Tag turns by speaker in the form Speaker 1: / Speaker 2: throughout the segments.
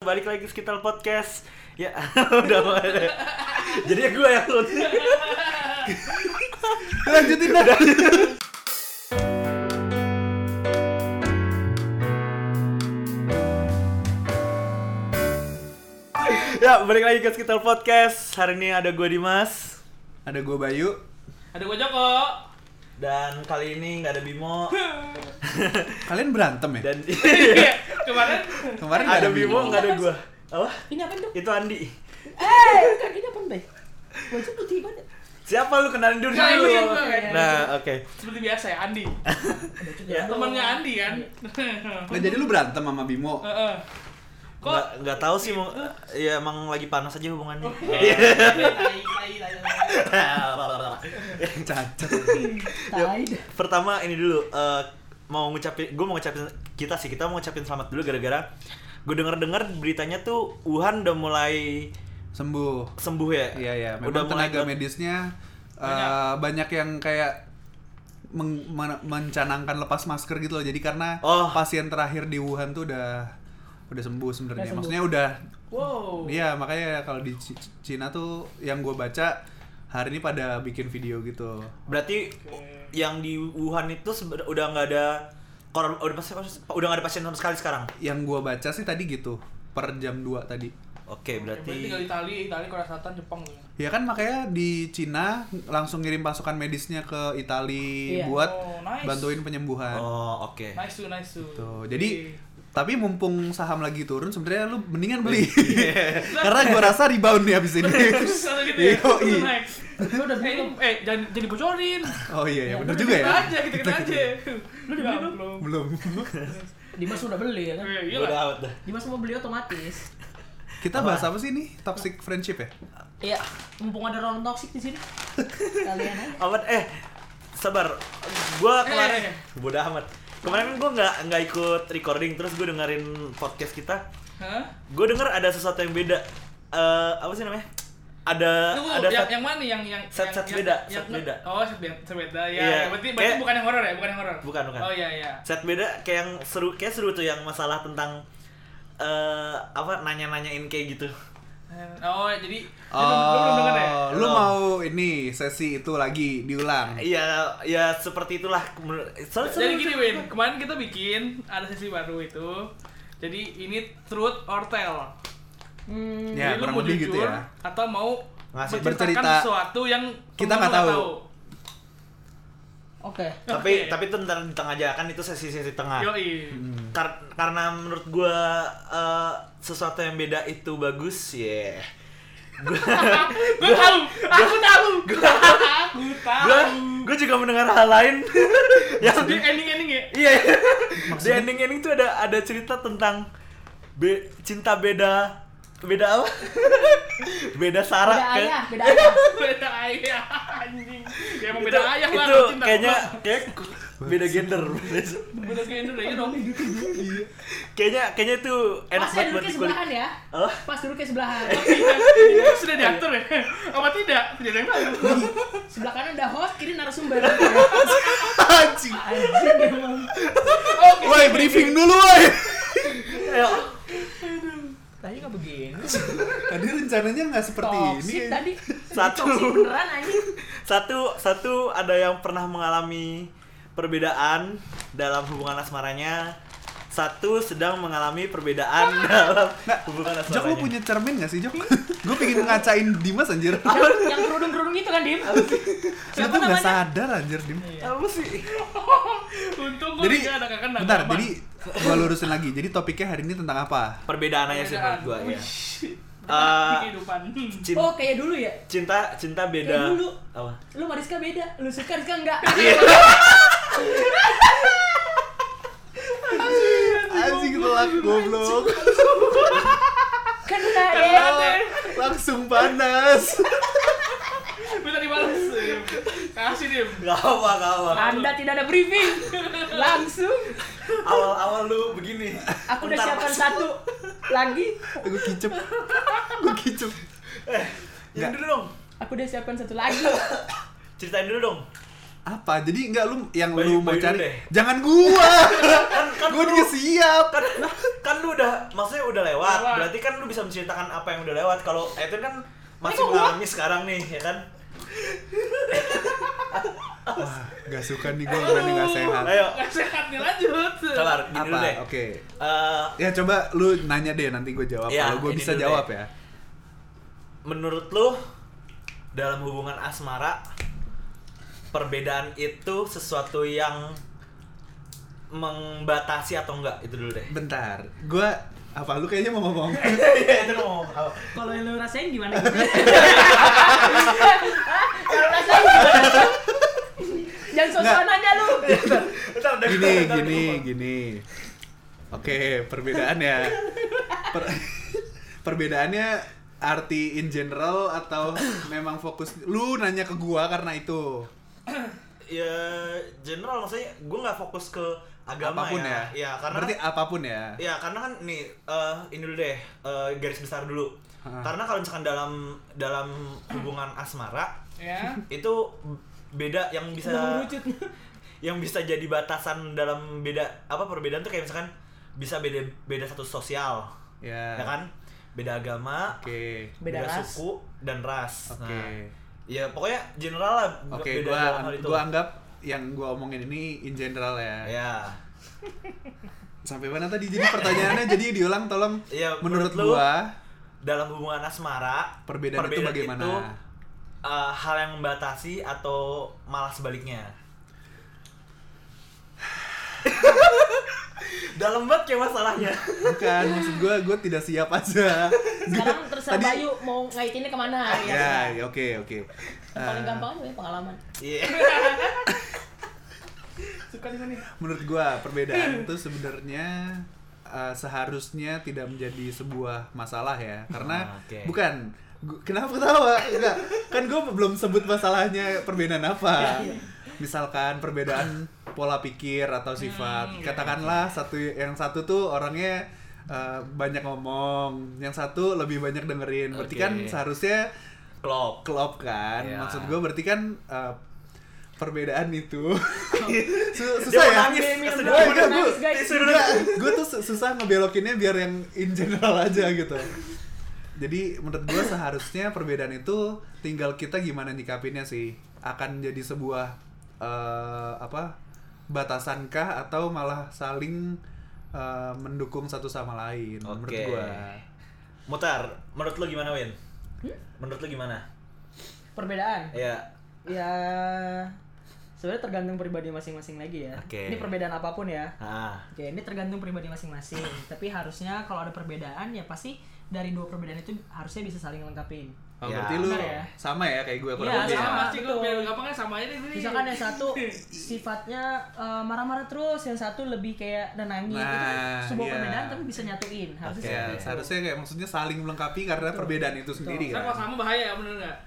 Speaker 1: balik lagi sekitar podcast ya udah mulai jadi gue yang lanjutin lanjutin dah ya balik lagi ke sekitar podcast hari ini ada gue Dimas
Speaker 2: Ada gue Bayu.
Speaker 3: Ada gua Joko.
Speaker 1: dan kali ini nggak ada Bimo
Speaker 2: Kalian berantem ya?
Speaker 1: dan
Speaker 3: Iya, kemarin
Speaker 2: Kemarin nggak
Speaker 1: ada Bimo nggak ada gue apa
Speaker 3: ini apa
Speaker 4: Iya.
Speaker 3: dong?
Speaker 1: itu Andi
Speaker 3: Eh, kakinya apa deh? Baju putih banget.
Speaker 1: siapa lu kenalin dulu
Speaker 3: Kenalin
Speaker 1: dulu.
Speaker 3: dulu, ya.
Speaker 1: nah oke
Speaker 3: Seperti biasa ya Andi.
Speaker 1: Ya.
Speaker 3: Temannya Andi kan.
Speaker 1: Iya.
Speaker 2: Nggak jadi lu berantem sama Bimo.
Speaker 1: Eh.
Speaker 3: Heeh.
Speaker 1: Kok
Speaker 3: Kok
Speaker 1: nggak, nggak tahu sih mau ya emang lagi panas aja
Speaker 3: Oh,
Speaker 1: hubungannya. Iya.
Speaker 3: iya, iya.
Speaker 2: Cacat.
Speaker 1: Pertama ini dulu eh, mau ngucapin gue mau ngucapin kita sih kita mau ngucapin selamat dulu gara-gara gue denger-denger beritanya tuh Wuhan udah mulai
Speaker 2: Sembuh.
Speaker 1: sembuh ya.
Speaker 2: Iya iya.
Speaker 1: Udah
Speaker 2: Memang
Speaker 1: mulai
Speaker 2: tenaga
Speaker 1: ber-
Speaker 2: medisnya eh,
Speaker 3: Banyak.
Speaker 2: banyak yang kayak meng- men- mencanangkan lepas masker gitu loh. Jadi karena
Speaker 1: Oh.
Speaker 2: pasien terakhir di Wuhan tuh udah udah sembuh sebenarnya. Maksudnya udah.
Speaker 3: wow.
Speaker 2: Iya makanya kalau di C- Cina tuh yang gue baca hari ini pada bikin video gitu.
Speaker 1: Berarti yang di Wuhan itu sebe- udah nggak ada koron udah pasti udah nggak ada pasien sama sekali sekarang.
Speaker 2: Yang gue baca sih tadi gitu per jam 2 tadi.
Speaker 1: Oke, berarti Iya.
Speaker 3: Berarti tinggal Italia, Italia Korea Selatan, Jepang tuh.
Speaker 2: Ya kan makanya di Cina langsung ngirim pasukan medisnya ke Itali
Speaker 4: Iya.
Speaker 2: buat
Speaker 3: Oh, nice.
Speaker 2: bantuin penyembuhan.
Speaker 1: Oh, oke.
Speaker 3: Nice tuh, nice tuh.
Speaker 1: Gitu.
Speaker 2: Tuh.
Speaker 3: Iya.
Speaker 2: Jadi tapi mumpung saham lagi turun sebenarnya lu mendingan beli.
Speaker 1: Iya.
Speaker 2: Karena gua rasa rebound nih habis ini.
Speaker 3: Satu gitu ya.
Speaker 2: Yoi.
Speaker 3: Next.
Speaker 4: Lu
Speaker 3: Eh,
Speaker 4: udah beli belum?
Speaker 3: ini- eh jangan jadi bocorin.
Speaker 2: Oh iya ya, bener
Speaker 3: Kita
Speaker 2: juga ya.
Speaker 3: aja, kita kita aja.
Speaker 1: gitu.
Speaker 3: Lu udah beli belum?
Speaker 2: Belum.
Speaker 4: Dimas udah beli ya kan?
Speaker 3: Eh, Iya
Speaker 1: Udah
Speaker 3: lah.
Speaker 1: out dah.
Speaker 4: Dimas mau beli otomatis.
Speaker 2: Kita bahas apa sih nih? Toxic friendship ya?
Speaker 4: Iya, mumpung ada orang toksik di sini. Kalian aja.
Speaker 1: Amat eh sabar. Gua kemarin
Speaker 3: Eh.
Speaker 1: bodo amat. Kemarin kan gua nggak nggak ikut recording terus gue dengerin podcast kita.
Speaker 3: Hah?
Speaker 1: Gue denger ada sesuatu yang beda. Eh apa sih namanya? Ada
Speaker 3: Tunggu,
Speaker 1: ada
Speaker 3: yang,
Speaker 1: sat-
Speaker 3: yang mana yang yang
Speaker 1: set-
Speaker 3: yang-
Speaker 1: set
Speaker 3: yang-
Speaker 1: beda,
Speaker 3: yang-
Speaker 1: set beda.
Speaker 3: Oh, set beda, set beda. Ya,
Speaker 1: Iya.
Speaker 3: ya, berarti berarti
Speaker 1: Kayak-
Speaker 3: bukan yang horor ya, bukan yang horor.
Speaker 1: Bukan, bukan.
Speaker 3: Oh iya iya.
Speaker 1: set beda kayak yang seru kayak seru tuh yang masalah tentang eh apa nanya-nanyain kayak gitu.
Speaker 3: Oh, jadi
Speaker 2: Oh,
Speaker 3: lu belum- belum denger ya?
Speaker 2: lu
Speaker 1: Belum.
Speaker 2: mau ini sesi itu lagi diulang.
Speaker 1: Iya, ya seperti itulah. Menur- Soalnya seru
Speaker 3: Jadi
Speaker 1: tuh.
Speaker 3: gini Win, kemarin kita bikin ada sesi baru itu. Jadi ini truth or tell.
Speaker 4: Hmm,
Speaker 2: Ya,
Speaker 3: jadi lu
Speaker 2: kurang
Speaker 3: mau
Speaker 2: lebih
Speaker 3: jujur
Speaker 2: gitu ya.
Speaker 3: atau mau
Speaker 1: Ngasih
Speaker 3: menceritakan
Speaker 2: bercerita.
Speaker 3: sesuatu yang
Speaker 2: Kita
Speaker 3: temen lu
Speaker 2: nggak tahu.
Speaker 4: oke.
Speaker 1: Tapi
Speaker 3: Oke.
Speaker 1: tapi itu ntar di tengah aja kan itu sesi-sesi
Speaker 2: Ah.
Speaker 1: tengah.
Speaker 3: Yoi.
Speaker 2: Hmm.
Speaker 1: Kar- karena menurut gua eh, sesuatu yang beda itu bagus ya
Speaker 3: Gue tahu, aku tahu, aku tahu.
Speaker 1: gua gua juga mendengar hal lain yang
Speaker 3: Jadi ending-ending ya.
Speaker 1: iya di ending ending tuh ada ada cerita tentang be- cinta beda beda apa beda
Speaker 4: Beda
Speaker 1: sara kayak-
Speaker 4: ayah, beda ayah.
Speaker 3: Beda ayah anjing. Ya emang
Speaker 1: itu,
Speaker 3: beda ayah lah
Speaker 1: itu
Speaker 3: kalau cinta.
Speaker 1: kayaknya kayak beda gender
Speaker 3: Beda kayak Indonesia dong.
Speaker 1: kayaknya kayaknya itu enak
Speaker 4: Pas
Speaker 1: banget buat
Speaker 4: duduknya
Speaker 1: dikulik
Speaker 4: sebelahan ya.
Speaker 1: Oh.
Speaker 4: Pas duduknya sebelahan.
Speaker 3: Iya, sudah diatur ya? Apa tidak? Tidak ada yang tahu.
Speaker 4: Sebelah kanan udah host, kiri narasumber.
Speaker 2: Anjing.
Speaker 4: Anjing emang.
Speaker 3: Oke.
Speaker 2: Woi, briefing dulu woi.
Speaker 1: Ayo.
Speaker 4: Tadi nggak begini.
Speaker 2: Tadi rencananya nggak seperti ini.
Speaker 4: Toksik tadi.
Speaker 1: Satu.
Speaker 4: Toksik beneran anjing.
Speaker 1: satu satu ada yang pernah mengalami perbedaan dalam hubungan asmaranya satu sedang mengalami perbedaan dalam hubungan asmaranya
Speaker 2: Jok lu punya cermin gak sih Jok? gue pengen ngacain Dimas anjir
Speaker 4: Yang kerudung-kerudung itu kan, Dim?
Speaker 2: Lu
Speaker 4: Siapa
Speaker 2: tuh gak
Speaker 4: namanya?
Speaker 2: sadar anjir Dim
Speaker 4: Iya.
Speaker 1: apa sih
Speaker 3: Untung gue
Speaker 2: Jadi,
Speaker 3: tidak ada kakak
Speaker 2: bentar, jadi gue lurusin lagi Jadi topiknya hari ini tentang apa?
Speaker 1: perbedaannya sih menurut gua ya Eh,
Speaker 3: kehidupan. Hmm.
Speaker 1: cin-
Speaker 4: Oh, kayak dulu ya?
Speaker 1: cinta cinta
Speaker 4: Kayak
Speaker 1: beda
Speaker 4: dulu.
Speaker 1: apa
Speaker 4: Lu sama Rizka beda, lu suka Rizka enggak?
Speaker 2: Anjing telak goblok
Speaker 4: Kena ya.
Speaker 3: Kena deh.
Speaker 2: Langsung panas
Speaker 3: Minta dibalas. Kasih Dim.
Speaker 1: Gak apa, gak apa.
Speaker 4: Anda tidak ada briefing. Langsung
Speaker 1: Awal-awal lu begini.
Speaker 4: aku udah
Speaker 1: Ntar
Speaker 4: siapkan
Speaker 1: pas-
Speaker 4: satu lagi.
Speaker 2: Gue kicep Gue kicep
Speaker 1: Eh, Yang dulu dong.
Speaker 4: Aku udah siapkan satu lagi.
Speaker 1: Ceritain dulu dong.
Speaker 2: apa jadi nggak lu yang
Speaker 1: Bayu-
Speaker 2: lu mau
Speaker 1: Bayu
Speaker 2: cari
Speaker 1: deh.
Speaker 2: jangan gua
Speaker 1: kan kan
Speaker 2: gua
Speaker 1: lu-
Speaker 2: udah siap
Speaker 1: kan kan lu udah maksudnya udah lewat
Speaker 3: Lewat.
Speaker 1: berarti kan lu bisa menceritakan apa yang udah lewat kalau Ethan kan masih
Speaker 4: kok gua?
Speaker 1: mengalami sekarang nih ya kan
Speaker 2: Wah, nggak suka nih gua berani nggak sehat
Speaker 1: ayo
Speaker 3: Gak sehat nih lanjut.
Speaker 1: sabar gini
Speaker 2: apa
Speaker 1: dulu deh
Speaker 2: oke
Speaker 1: Eh,
Speaker 2: ya coba lu nanya deh nanti gua jawab
Speaker 1: Ya,
Speaker 2: kalau gua
Speaker 1: ini
Speaker 2: bisa
Speaker 1: dulu
Speaker 2: jawab
Speaker 1: deh.
Speaker 2: ya
Speaker 1: menurut lu dalam hubungan asmara perbedaan itu sesuatu yang membatasi atau enggak itu dulu deh
Speaker 2: bentar gua apa lu kayaknya mau ngomong
Speaker 1: Iya, itu mau ngomong apa?
Speaker 4: Kalau yang lu rasain gimana? gitu? Kalau rasain gimana? Jangan sosokan aja lu.
Speaker 1: Bentar, udah
Speaker 2: gini
Speaker 1: bentar,
Speaker 2: gini
Speaker 1: bentar.
Speaker 2: gini oke perbedaan ya Per- perbedaannya arti in general atau memang fokus lu nanya ke gua karena itu
Speaker 1: ya general maksudnya gue nggak fokus ke agama
Speaker 2: apapun ya,
Speaker 1: ya karena
Speaker 2: berarti apapun ya
Speaker 1: Ya karena kan nih eh, ini dulu deh eh, garis besar dulu.
Speaker 2: Hah.
Speaker 1: Karena kalau misalkan dalam dalam hubungan asmara
Speaker 3: Ya.
Speaker 1: itu beda yang bisa
Speaker 4: Udah merucut.
Speaker 1: yang bisa jadi batasan dalam beda apa perbedaan tuh kayak misalkan bisa beda beda satu sosial
Speaker 2: ya,
Speaker 1: ya kan beda agama
Speaker 2: oke
Speaker 4: Beda ras.
Speaker 1: suku dan ras
Speaker 2: oke
Speaker 1: nah ya pokoknya general lah be-
Speaker 2: oke
Speaker 1: Nah, beda
Speaker 2: gua
Speaker 1: dalam hal itu
Speaker 2: gua anggap yang gua omongin ini in general ya
Speaker 1: ya
Speaker 2: sampai mana tadi jadi pertanyaannya jadi diulang tolong
Speaker 1: ya
Speaker 2: menurut
Speaker 1: lu,
Speaker 2: gua
Speaker 1: dalam hubungan asmara
Speaker 2: perbedaan, itu bagaimana
Speaker 1: itu, eh, hal yang membatasi atau malah sebaliknya dalam banget kayak masalahnya
Speaker 2: Bukan, maksud gue, gue tidak siap aja.
Speaker 4: Sekarang terserah
Speaker 2: Tadi-
Speaker 4: Bayu mau ngaitinnya kemana iya.
Speaker 2: Ya, ya, oke, oke.
Speaker 4: Yang Paling
Speaker 2: Eh,
Speaker 4: gampang aja ya, pengalaman.
Speaker 1: Iya.
Speaker 3: Suka nih gua nih.
Speaker 2: Menurut gue, perbedaan itu sebenarnya eh, seharusnya tidak menjadi sebuah masalah ya. Karena,
Speaker 1: Ah, oke.
Speaker 2: bukan, Gu- kenapa ketawa? Enggak, kan gue belum sebut masalahnya perbedaan apa.
Speaker 1: Iya.
Speaker 2: Misalkan perbedaan pola pikir atau
Speaker 1: Hmm,
Speaker 2: sifat.
Speaker 1: iya,
Speaker 2: Katakanlah satu yang satu tuh orangnya eh, banyak ngomong, yang satu lebih banyak dengerin. Berarti kan
Speaker 1: Oke.
Speaker 2: seharusnya
Speaker 1: klop
Speaker 2: Klop kan,
Speaker 1: Iya.
Speaker 2: maksud gue berarti kan eh, perbedaan itu Su-
Speaker 1: dia
Speaker 2: susah
Speaker 1: mau
Speaker 2: ya.
Speaker 1: nangis
Speaker 4: Dia minum
Speaker 1: Sedih
Speaker 4: doang,
Speaker 1: dulu.
Speaker 4: nangis, guys.
Speaker 1: Tisu dulu.
Speaker 2: Gue tuh su- susah ngebelokinnya biar yang in general aja gitu. Jadi menurut gue seharusnya perbedaan itu tinggal kita gimana nyikapinnya sih akan jadi sebuah eh, apa batasankah atau malah saling eh, mendukung satu sama lain menurut
Speaker 1: Oke.
Speaker 2: gue.
Speaker 1: mutar menurut lu gimana Win menurut lu gimana
Speaker 4: Perbedaan.
Speaker 1: ya
Speaker 4: Ya sebenarnya tergantung pribadi masing-masing lagi ya.
Speaker 1: Oke.
Speaker 4: Ini perbedaan apapun ya.
Speaker 1: ah
Speaker 4: Oke, ini tergantung pribadi masing-masing. Tapi harusnya kalau ada perbedaan ya pasti dari dua perbedaan itu harusnya bisa saling lengkapin.
Speaker 2: Oh,
Speaker 1: Ya,
Speaker 2: berarti lu
Speaker 3: benar ya.
Speaker 2: sama ya kayak gue kurang
Speaker 4: Iya,
Speaker 2: lebih. ya?
Speaker 3: Sama pasti gue
Speaker 4: betul.
Speaker 3: biar gampangnya sama aja deh gue nih.
Speaker 4: Misalkan ya. yang satu sifatnya eh, marah-marah terus, yang satu lebih kayak nenangin. Itu kan
Speaker 2: Nah,
Speaker 4: sebuah
Speaker 2: iya.
Speaker 4: perbedaan tapi bisa nyatuin. Harusnya
Speaker 2: Ya,
Speaker 4: seperti itu.
Speaker 2: seharusnya kayak maksudnya saling melengkapi karena perbedaan itu sendiri
Speaker 3: Karena
Speaker 2: kan.
Speaker 3: kalau sama bahaya ya, bener nggak?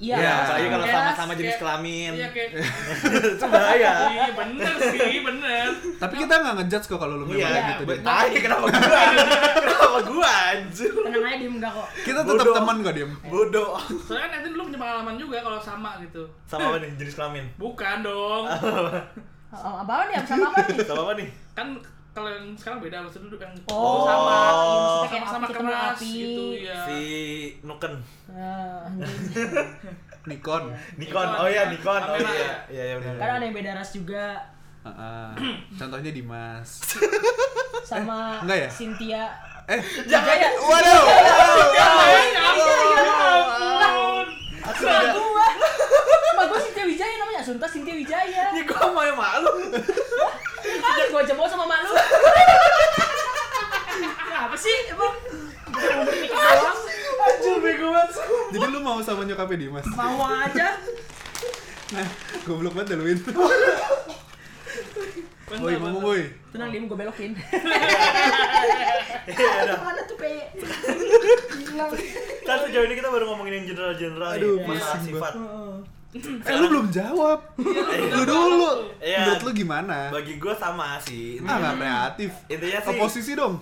Speaker 4: Iya.
Speaker 2: Ya,
Speaker 1: apalagi kalau
Speaker 4: Yes.
Speaker 1: sama-sama jenis
Speaker 3: kayak-
Speaker 1: kelamin
Speaker 3: Iya kayak.
Speaker 1: itu bahaya
Speaker 3: Iya bener sih bener.
Speaker 2: Tapi kita nggak ngejudge kok kalau lu memang kayak
Speaker 1: Iya,
Speaker 2: gitu deh.
Speaker 1: bet- Ah, iya, kenapa gua? Kenapa gua anjir?
Speaker 4: Tenang aja diem enggak kok.
Speaker 2: Kita tetap
Speaker 1: Bodoh.
Speaker 2: teman kok diem.
Speaker 1: Bodoh.
Speaker 3: Soalnya kan Nathan dulu punya pengalaman juga kalau sama gitu.
Speaker 1: Sama apa nih jenis kelamin?
Speaker 3: Bukan dong.
Speaker 4: Oh, apaan nih? Sama apa nih? Eh,
Speaker 1: Sama apa nih?
Speaker 3: Kan kalau yang sekarang beda maksudnya dulu yang
Speaker 4: Oh, sama. Iya, maksudnya kayak
Speaker 3: sama-sama
Speaker 4: api ketemu
Speaker 3: keras
Speaker 4: api.
Speaker 3: gitu ya.
Speaker 1: Si Nuken.
Speaker 4: Eh, anjing.
Speaker 2: Nikon.
Speaker 1: Nikon. Oh iya, Nikon. Oh
Speaker 3: Kamera
Speaker 1: iya.
Speaker 3: ya?
Speaker 1: Iya, iya benar.
Speaker 4: Karena ada yang beda ras juga
Speaker 2: Heeh. Contohnya Dimas.
Speaker 4: sama
Speaker 2: Enggak ya?
Speaker 4: Cynthia.
Speaker 2: Eh,
Speaker 4: Jangan ya.
Speaker 2: waduh.
Speaker 3: Ya
Speaker 1: Iya.
Speaker 3: ampun.
Speaker 2: Aku
Speaker 4: Sama
Speaker 2: udah
Speaker 4: gua. Sama gua Cynthia Wijaya namanya. Sunta Cynthia Wijaya.
Speaker 1: Ini gua mau yang malu.
Speaker 4: Kan gua jempol sama mak lu. Kenapa sih? Emang Udah mau bernikah doang.
Speaker 1: Anjir bego banget.
Speaker 2: jadi lu mau sama nyokapnya Dimas.
Speaker 4: Mau aja.
Speaker 2: Nah, goblok banget dah lu itu. Woi,
Speaker 3: Bentar, bentar.
Speaker 2: ngomong woi.
Speaker 4: Tenang diem gua belokin.
Speaker 1: Iya, udah.
Speaker 4: Mana tuh pe?
Speaker 1: Kan sejauh ini kita baru ngomongin yang general-general
Speaker 2: Aduh,
Speaker 1: nih. Masalah
Speaker 2: pusing
Speaker 1: sifat.
Speaker 2: Eh, lu belum jawab. Lu dulu.
Speaker 1: Iya.
Speaker 2: Menurut lu gimana?
Speaker 1: Bagi gua sama sih.
Speaker 4: Nah,
Speaker 2: Ah, nggak kreatif.
Speaker 1: Intinya sih-
Speaker 2: Oposisi dong.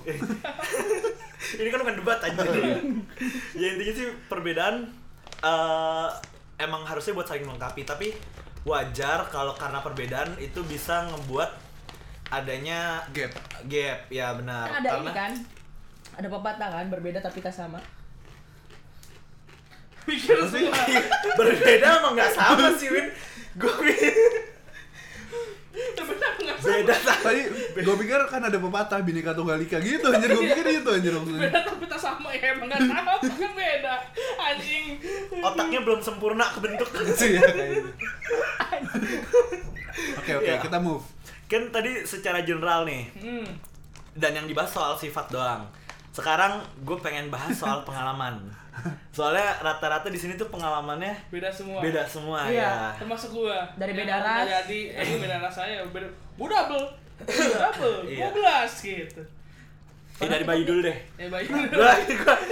Speaker 1: ini kan bukan debat aja ya intinya sih perbedaan eh, emang harusnya buat saling melengkapi tapi wajar kalau karena perbedaan itu bisa ngebuat adanya
Speaker 2: Gap.
Speaker 1: gap ya benar
Speaker 4: Kan ada ini
Speaker 1: Karena-
Speaker 4: kan. Ada pepatah kan berbeda tapi tak sama.
Speaker 3: Mikir semua.
Speaker 1: berbeda emang nggak sama sih Win gue
Speaker 3: Benar nggak sih?
Speaker 1: beda tak-
Speaker 2: Tadi gue pikir kan ada pepatah Bhinneka Tunggal Ika gitu anjir gue pikir gitu anjir maksudnya.
Speaker 3: Beda tapi tak sama ya, emang nggak sama, kan beda. Anjing.
Speaker 1: otaknya belum sempurna kebentuk
Speaker 2: Iya, kayak gitu. Oke oke
Speaker 1: Iya.
Speaker 2: kita move.
Speaker 1: kan tadi secara general nih
Speaker 3: Hmm.
Speaker 1: dan yang dibahas soal sifat doang sekarang gue pengen bahas soal pengalaman soalnya rata-rata di sini tuh pengalamannya
Speaker 3: Beda semua.
Speaker 1: beda semua
Speaker 4: Iya.
Speaker 1: ya
Speaker 3: Termasuk gua.
Speaker 4: Dari
Speaker 3: Yang
Speaker 4: beda ras.
Speaker 3: Jadi, ini beda ras saya. Beda. Gua double. Gua double.
Speaker 1: Iya.
Speaker 3: Gua belas gitu.
Speaker 1: Eh, dari bayu dulu deh
Speaker 3: Ya baik.
Speaker 4: Iya.
Speaker 1: Gua- gua-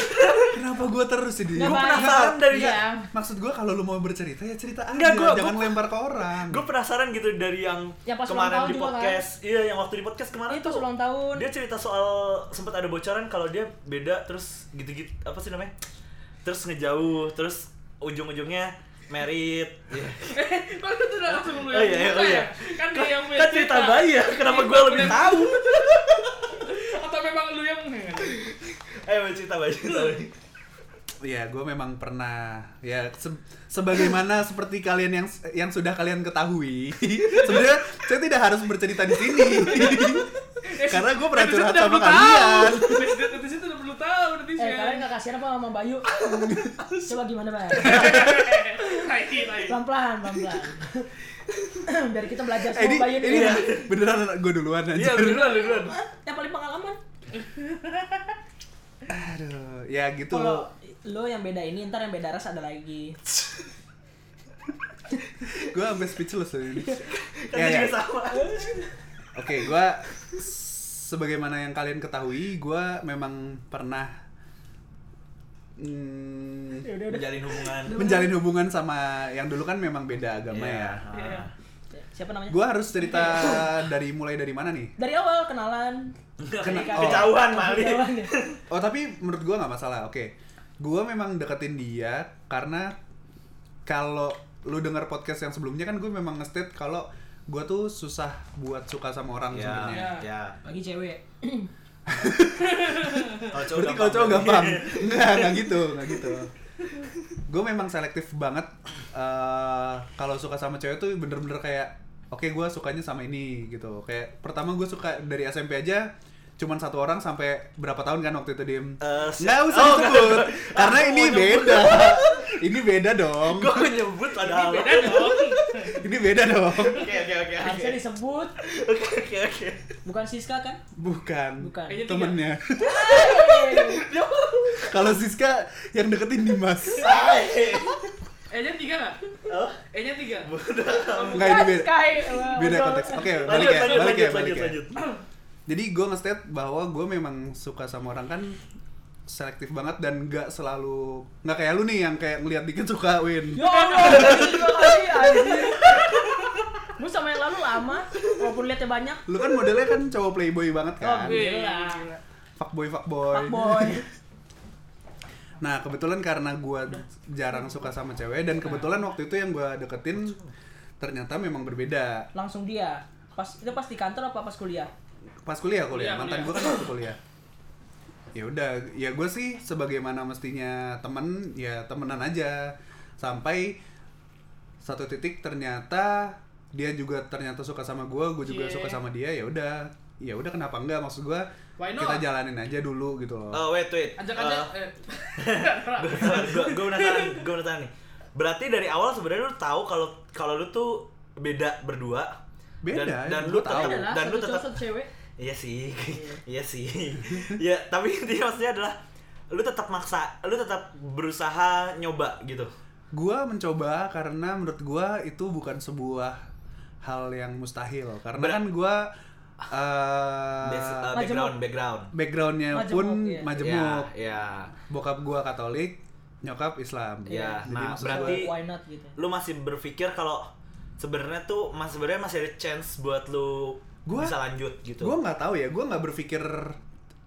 Speaker 2: Kenapa gue terus sih dia?
Speaker 4: Nggak
Speaker 1: Gua
Speaker 4: apa-apa.
Speaker 1: penasaran dari- kan?
Speaker 4: Iya.
Speaker 2: Maksud gue kalau lu mau bercerita ya cerita aja,
Speaker 1: Nggak, gua-
Speaker 2: jangan
Speaker 1: gua-
Speaker 2: lempar ke orang.
Speaker 1: gue penasaran gitu dari yang,
Speaker 4: Yang pas ulang
Speaker 1: kemarin
Speaker 4: tahun
Speaker 1: di
Speaker 4: juga kan?
Speaker 1: podcast iya yang waktu di podcast kemarin
Speaker 4: Ini pas ulang tahun.
Speaker 1: dia cerita soal sempat ada bocoran kalau dia beda terus gitu-gitu apa sih namanya terus ngejauh terus ujung-ujungnya Iya. merit
Speaker 3: Eh, Kok itu udah langsung lu
Speaker 1: Oh iya, iya,
Speaker 3: cerita
Speaker 1: oh iya.
Speaker 3: ya? Kan dia yang punya
Speaker 1: kan cerita bayi ya kenapa gue lebih tahu
Speaker 3: Atau memang lu yang
Speaker 1: eh cerita bayi cerita bayi
Speaker 2: Iya, gue memang pernah ya se- sebagaimana seperti kalian yang yang sudah kalian ketahui. Sebenarnya saya tidak harus bercerita di sini. Karena gue pernah curhat sama kalian.
Speaker 3: Di situ udah perlu tahu nanti
Speaker 4: Eh,
Speaker 3: sih.
Speaker 4: kalian
Speaker 1: ya.
Speaker 4: gak kasihan apa sama Bayu? Coba gimana, Bay?
Speaker 3: Lagi, lagi.
Speaker 4: Pelan-pelan, pelan-pelan. Dari kita belajar
Speaker 2: Eh, ini
Speaker 4: semua Bayu
Speaker 2: ini
Speaker 4: nih.
Speaker 2: beneran gue duluan
Speaker 1: iya
Speaker 2: aja.
Speaker 1: duluan duluan
Speaker 4: Yang paling pengalaman.
Speaker 2: Aduh, ya gitu.
Speaker 4: Kalau lo yang beda ini, ntar yang beda ras ada lagi.
Speaker 2: Gue sampai speechless loh ini.
Speaker 1: kan
Speaker 2: Ya, ya.
Speaker 1: juga sama
Speaker 2: Oke, gua sebagaimana yang kalian ketahui, gua memang pernah mm,
Speaker 4: Ya udah, udah.
Speaker 1: menjalin hubungan
Speaker 2: menjalin hubungan sama yang dulu kan memang beda agama
Speaker 1: Iya.
Speaker 2: ya.
Speaker 3: Iya.
Speaker 4: Siapa namanya?
Speaker 2: Gua harus cerita dari mulai dari mana nih?
Speaker 4: Dari awal kenalan.
Speaker 1: Kena-
Speaker 4: Kena-
Speaker 1: kejauhan mali
Speaker 4: Kenalan ya.
Speaker 2: Oh tapi menurut gua nggak masalah. Oke, gua memang deketin dia karena kalau lu denger podcast yang sebelumnya kan gue memang nge-state kalau gua tuh susah buat suka sama orang
Speaker 1: ya
Speaker 2: sebenarnya.
Speaker 3: Iya.
Speaker 1: ya
Speaker 4: Bagi cewek.
Speaker 1: kalau cowok
Speaker 2: Berarti kalau cowok gampang. Enggak, enggak gitu, enggak gitu. Gue memang selektif banget eh, kalau suka sama cewek tuh bener-bener kayak oke gue sukanya sama ini gitu. Kayak pertama gue suka dari SMP aja cuman satu orang sampai berapa tahun kan waktu itu dim
Speaker 1: Eh, si-
Speaker 2: nggak usah
Speaker 1: Oh, nggak.
Speaker 2: disebut karena
Speaker 1: Aku
Speaker 2: ini
Speaker 1: mau nyebut.
Speaker 2: beda ini beda dong
Speaker 1: gue nyebut padahal
Speaker 3: Beda dong.
Speaker 2: ini beda dong
Speaker 1: oke oke oke oke
Speaker 4: Harusnya disebut.
Speaker 1: oke oke oke
Speaker 4: Bukan Siska kan?
Speaker 2: bukan,
Speaker 4: Bukan.
Speaker 3: Kayaknya tiga.
Speaker 2: temennya
Speaker 4: iya,
Speaker 2: kalau Siska yang deketin Dimas
Speaker 3: E-nya tiga nggak?
Speaker 1: Oh,
Speaker 3: E-nya tiga.
Speaker 2: nggak ini beda
Speaker 4: Sky.
Speaker 2: beda konteks oke balik
Speaker 1: lanjut
Speaker 2: ya
Speaker 1: lanjut
Speaker 2: balik ya
Speaker 1: lanjut
Speaker 2: balik
Speaker 1: lanjut
Speaker 2: ya
Speaker 1: lanjut
Speaker 2: Jadi gue nge-state bahwa gue memang suka sama orang kan selektif banget dan nggak selalu nggak kayak lu nih yang kayak ngelihat dikit suka win.
Speaker 4: Ya Allah, ini dua kali anjir. Lu sama yang lalu lama, walaupun liatnya banyak.
Speaker 2: Lu kan modelnya kan cowok playboy banget kan.
Speaker 4: gue.
Speaker 3: Gila.
Speaker 2: Fuckboy fuckboy.
Speaker 4: Pak boy.
Speaker 2: Nah, kebetulan karena gue jarang suka sama cewek dan kebetulan waktu itu yang gue deketin ternyata memang berbeda.
Speaker 4: Langsung dia. Pas itu pas di kantor apa pas kuliah?
Speaker 2: Pas kuliah
Speaker 3: Kuliah,
Speaker 2: kuliah,
Speaker 3: Iya, kuliah.
Speaker 2: mantan gue kan waktu kuliah. Ya udah, ya gue sih sebagaimana mestinya temen ya temenan aja sampai satu titik ternyata dia juga ternyata suka sama gue, gue juga
Speaker 3: Cie.
Speaker 2: suka sama dia. Ya udah, ya udah kenapa enggak? Maksud gue
Speaker 3: Why not?
Speaker 2: kita jalanin aja dulu gitu loh.
Speaker 1: Oh wait Eh, wait.
Speaker 3: Ajak aja.
Speaker 2: Eh.
Speaker 1: gue gue penasaran, gue penasaran nih. Berarti dari awal sebenarnya lu tahu kalau kalau lu tuh beda berdua.
Speaker 2: Beda, ya.
Speaker 1: Dan, dan
Speaker 2: gua
Speaker 1: lu
Speaker 2: tahu.
Speaker 1: tetap
Speaker 4: Adalah
Speaker 1: dan lu
Speaker 4: satu
Speaker 1: tetap
Speaker 4: cowok satu cewek.
Speaker 1: Iya sih. Iya sih. ya, tapi intinya maksudnya adalah lu tetap maksa, lu tetap berusaha nyoba gitu.
Speaker 2: Gua mencoba karena menurut gua itu bukan sebuah hal yang mustahil karena
Speaker 1: Ber-
Speaker 2: kan gua eh,
Speaker 1: Bas- uh,
Speaker 4: Majemuk.
Speaker 1: background background.
Speaker 2: backgroundnya
Speaker 4: Majemuk,
Speaker 2: pun
Speaker 4: iya.
Speaker 2: majemuk
Speaker 1: Ya,
Speaker 2: bokap gua Katolik nyokap Islam
Speaker 1: ya. ya.
Speaker 2: Jadi
Speaker 1: Nah,
Speaker 2: maksud
Speaker 1: berarti
Speaker 4: Why not gitu.
Speaker 1: lu masih berpikir kalau sebenarnya tuh mas sebenarnya masih ada chance buat lu
Speaker 2: Gua-
Speaker 1: bisa lanjut gitu.
Speaker 2: Gue nggak tahu ya, gue nggak berpikir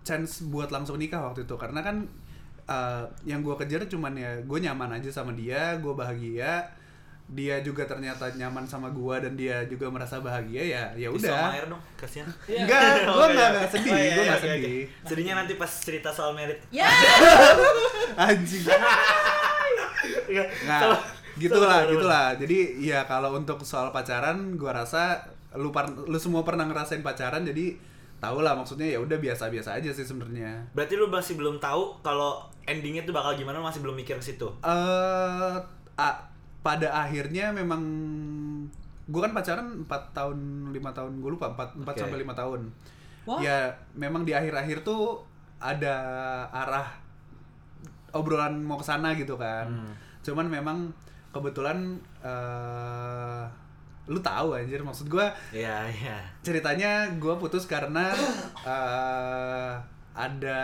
Speaker 2: chance buat langsung nikah waktu itu karena kan eh, yang gue kejar cuman ya gue nyaman aja sama dia, gue bahagia, dia juga ternyata nyaman sama gua dan dia juga merasa bahagia ya ya
Speaker 1: Pisau sama
Speaker 2: udah
Speaker 1: air dong, kasihan.
Speaker 3: Iya.
Speaker 2: enggak
Speaker 1: Oh,
Speaker 2: gua
Speaker 1: enggak,
Speaker 2: enggak
Speaker 1: ya.
Speaker 2: enggak sedih
Speaker 1: Oh, iya,
Speaker 2: gua
Speaker 1: iya,
Speaker 2: enggak
Speaker 1: oke, oke.
Speaker 2: sedih
Speaker 1: Sedihnya nanti pas cerita soal merit.
Speaker 4: Ya.
Speaker 2: anjing
Speaker 1: Iya.
Speaker 2: Nah,
Speaker 1: Sama-
Speaker 2: gitulah,
Speaker 1: sama-
Speaker 2: gitulah. Jadi ya kalau untuk soal pacaran, gua rasa lu par- lu semua pernah ngerasain pacaran, jadi tau lah maksudnya ya udah biasa-biasa aja sih sebenarnya.
Speaker 1: Berarti lu masih belum tahu kalau endingnya tuh bakal gimana, lu masih belum mikir ke situ.
Speaker 2: Eh, a- pada akhirnya memang gua kan pacaran 4 tahun, 5 tahun, gue lupa 4 4
Speaker 1: Oke.
Speaker 2: sampai 5 tahun.
Speaker 4: Wah.
Speaker 2: Ya, memang di akhir-akhir tuh ada arah obrolan mau ke sana gitu kan. Cuman memang kebetulan eh lu tahu anjir maksud gua
Speaker 1: Iya, iya.
Speaker 2: ceritanya gua putus karena eh, ada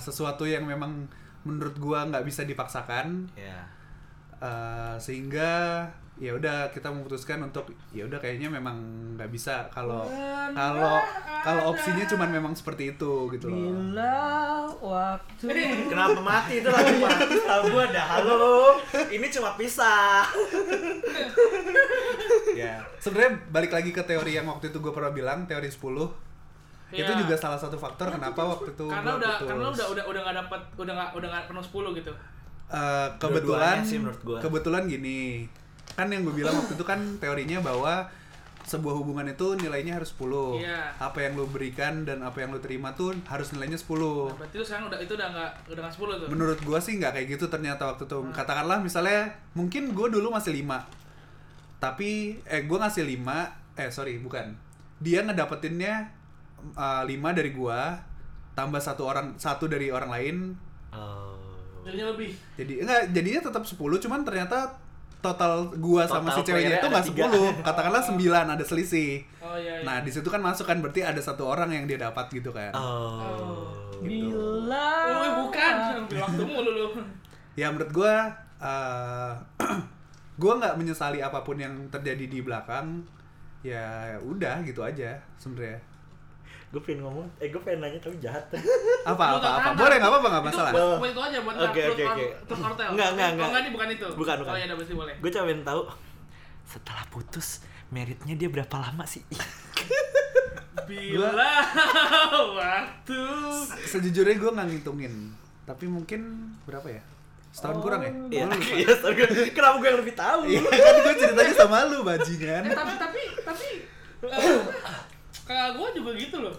Speaker 2: sesuatu yang memang menurut gua nggak bisa dipaksakan
Speaker 1: Iya.
Speaker 2: Eh, sehingga ya udah kita memutuskan untuk ya udah kayaknya memang nggak bisa kalau kalau kalau opsinya cuman memang seperti itu gitu loh.
Speaker 4: Bila waktu
Speaker 1: Kenapa mati itu lagu mati tahu gua dah. Halo. Ini cuma pisah.
Speaker 2: Ya. Sebenarnya balik lagi ke teori yang waktu itu gue pernah bilang teori 10. Itu
Speaker 3: Iya.
Speaker 2: juga salah satu faktor kenapa waktu itu
Speaker 3: karena
Speaker 2: gua
Speaker 3: udah
Speaker 2: putus.
Speaker 3: karena udah udah udah nggak dapat udah nggak udah nggak penuh 10 gitu
Speaker 2: Eh, kebetulan
Speaker 1: Dua-duanya sih menurut gua.
Speaker 2: kebetulan gini kan yang gue bilang waktu itu kan teorinya bahwa sebuah hubungan itu nilainya harus 10
Speaker 3: Iya.
Speaker 2: apa yang lu berikan dan apa yang lu terima tuh harus nilainya 10
Speaker 3: berarti lu sekarang udah itu udah nggak udah nggak 10 tuh
Speaker 2: menurut gua sih nggak kayak gitu ternyata waktu itu katakanlah misalnya mungkin gua dulu masih 5 tapi eh gua ngasih 5 eh sorry bukan dia ngedapetinnya 5 dari gua tambah satu orang satu dari orang lain
Speaker 1: Oh.
Speaker 3: jadinya lebih
Speaker 2: jadi enggak jadinya tetap 10 cuman ternyata total gua sama
Speaker 1: Total
Speaker 2: si ceweknya
Speaker 1: playernya
Speaker 2: itu
Speaker 1: ada
Speaker 2: nggak
Speaker 1: tiga. Oh.
Speaker 2: 10 katakanlah 9 ada selisih
Speaker 3: oh iya, iya.
Speaker 2: nah di situ kan masuk kan berarti ada satu orang yang dia dapat gitu
Speaker 1: Ah,
Speaker 2: kan
Speaker 1: Oh.
Speaker 4: bila
Speaker 3: Oh, eh, bukan ambil waktu mulu lu
Speaker 2: ya menurut gue eh gue nggak menyesali apapun yang terjadi di belakang ya udah gitu aja sebenarnya
Speaker 1: Gue pengen ngomong, eh gue pengen nanya tapi jahat.
Speaker 2: apa
Speaker 3: Lu
Speaker 2: apa
Speaker 3: nggak
Speaker 2: apa
Speaker 3: tahan.
Speaker 2: boleh nggak apa apa nggak
Speaker 3: Itu
Speaker 2: masalah
Speaker 3: buat, buat itu aja buat
Speaker 1: Oke,
Speaker 3: truth
Speaker 1: oke,
Speaker 3: or-
Speaker 1: oke.
Speaker 3: truth or tell.
Speaker 1: Nggak, nggak,
Speaker 3: Oh,
Speaker 1: nggak.
Speaker 3: nggak, ini bukan itu
Speaker 1: Bukan, bukan.
Speaker 3: oh iya udah pasti boleh
Speaker 1: gue cuma pengen tahu setelah putus meritnya dia berapa lama sih?
Speaker 3: bila waktu
Speaker 2: sejujurnya gue nggak ngitungin tapi mungkin berapa ya setahun kurang ya
Speaker 1: Iya,
Speaker 3: Oh,
Speaker 2: Lu lupa.
Speaker 1: iya, tapi gua- kenapa gue yang lebih tahu?
Speaker 2: Iya kan gue ceritanya sama lu bajingan
Speaker 3: eh tapi tapi tapi eh, kakak gue juga gitu loh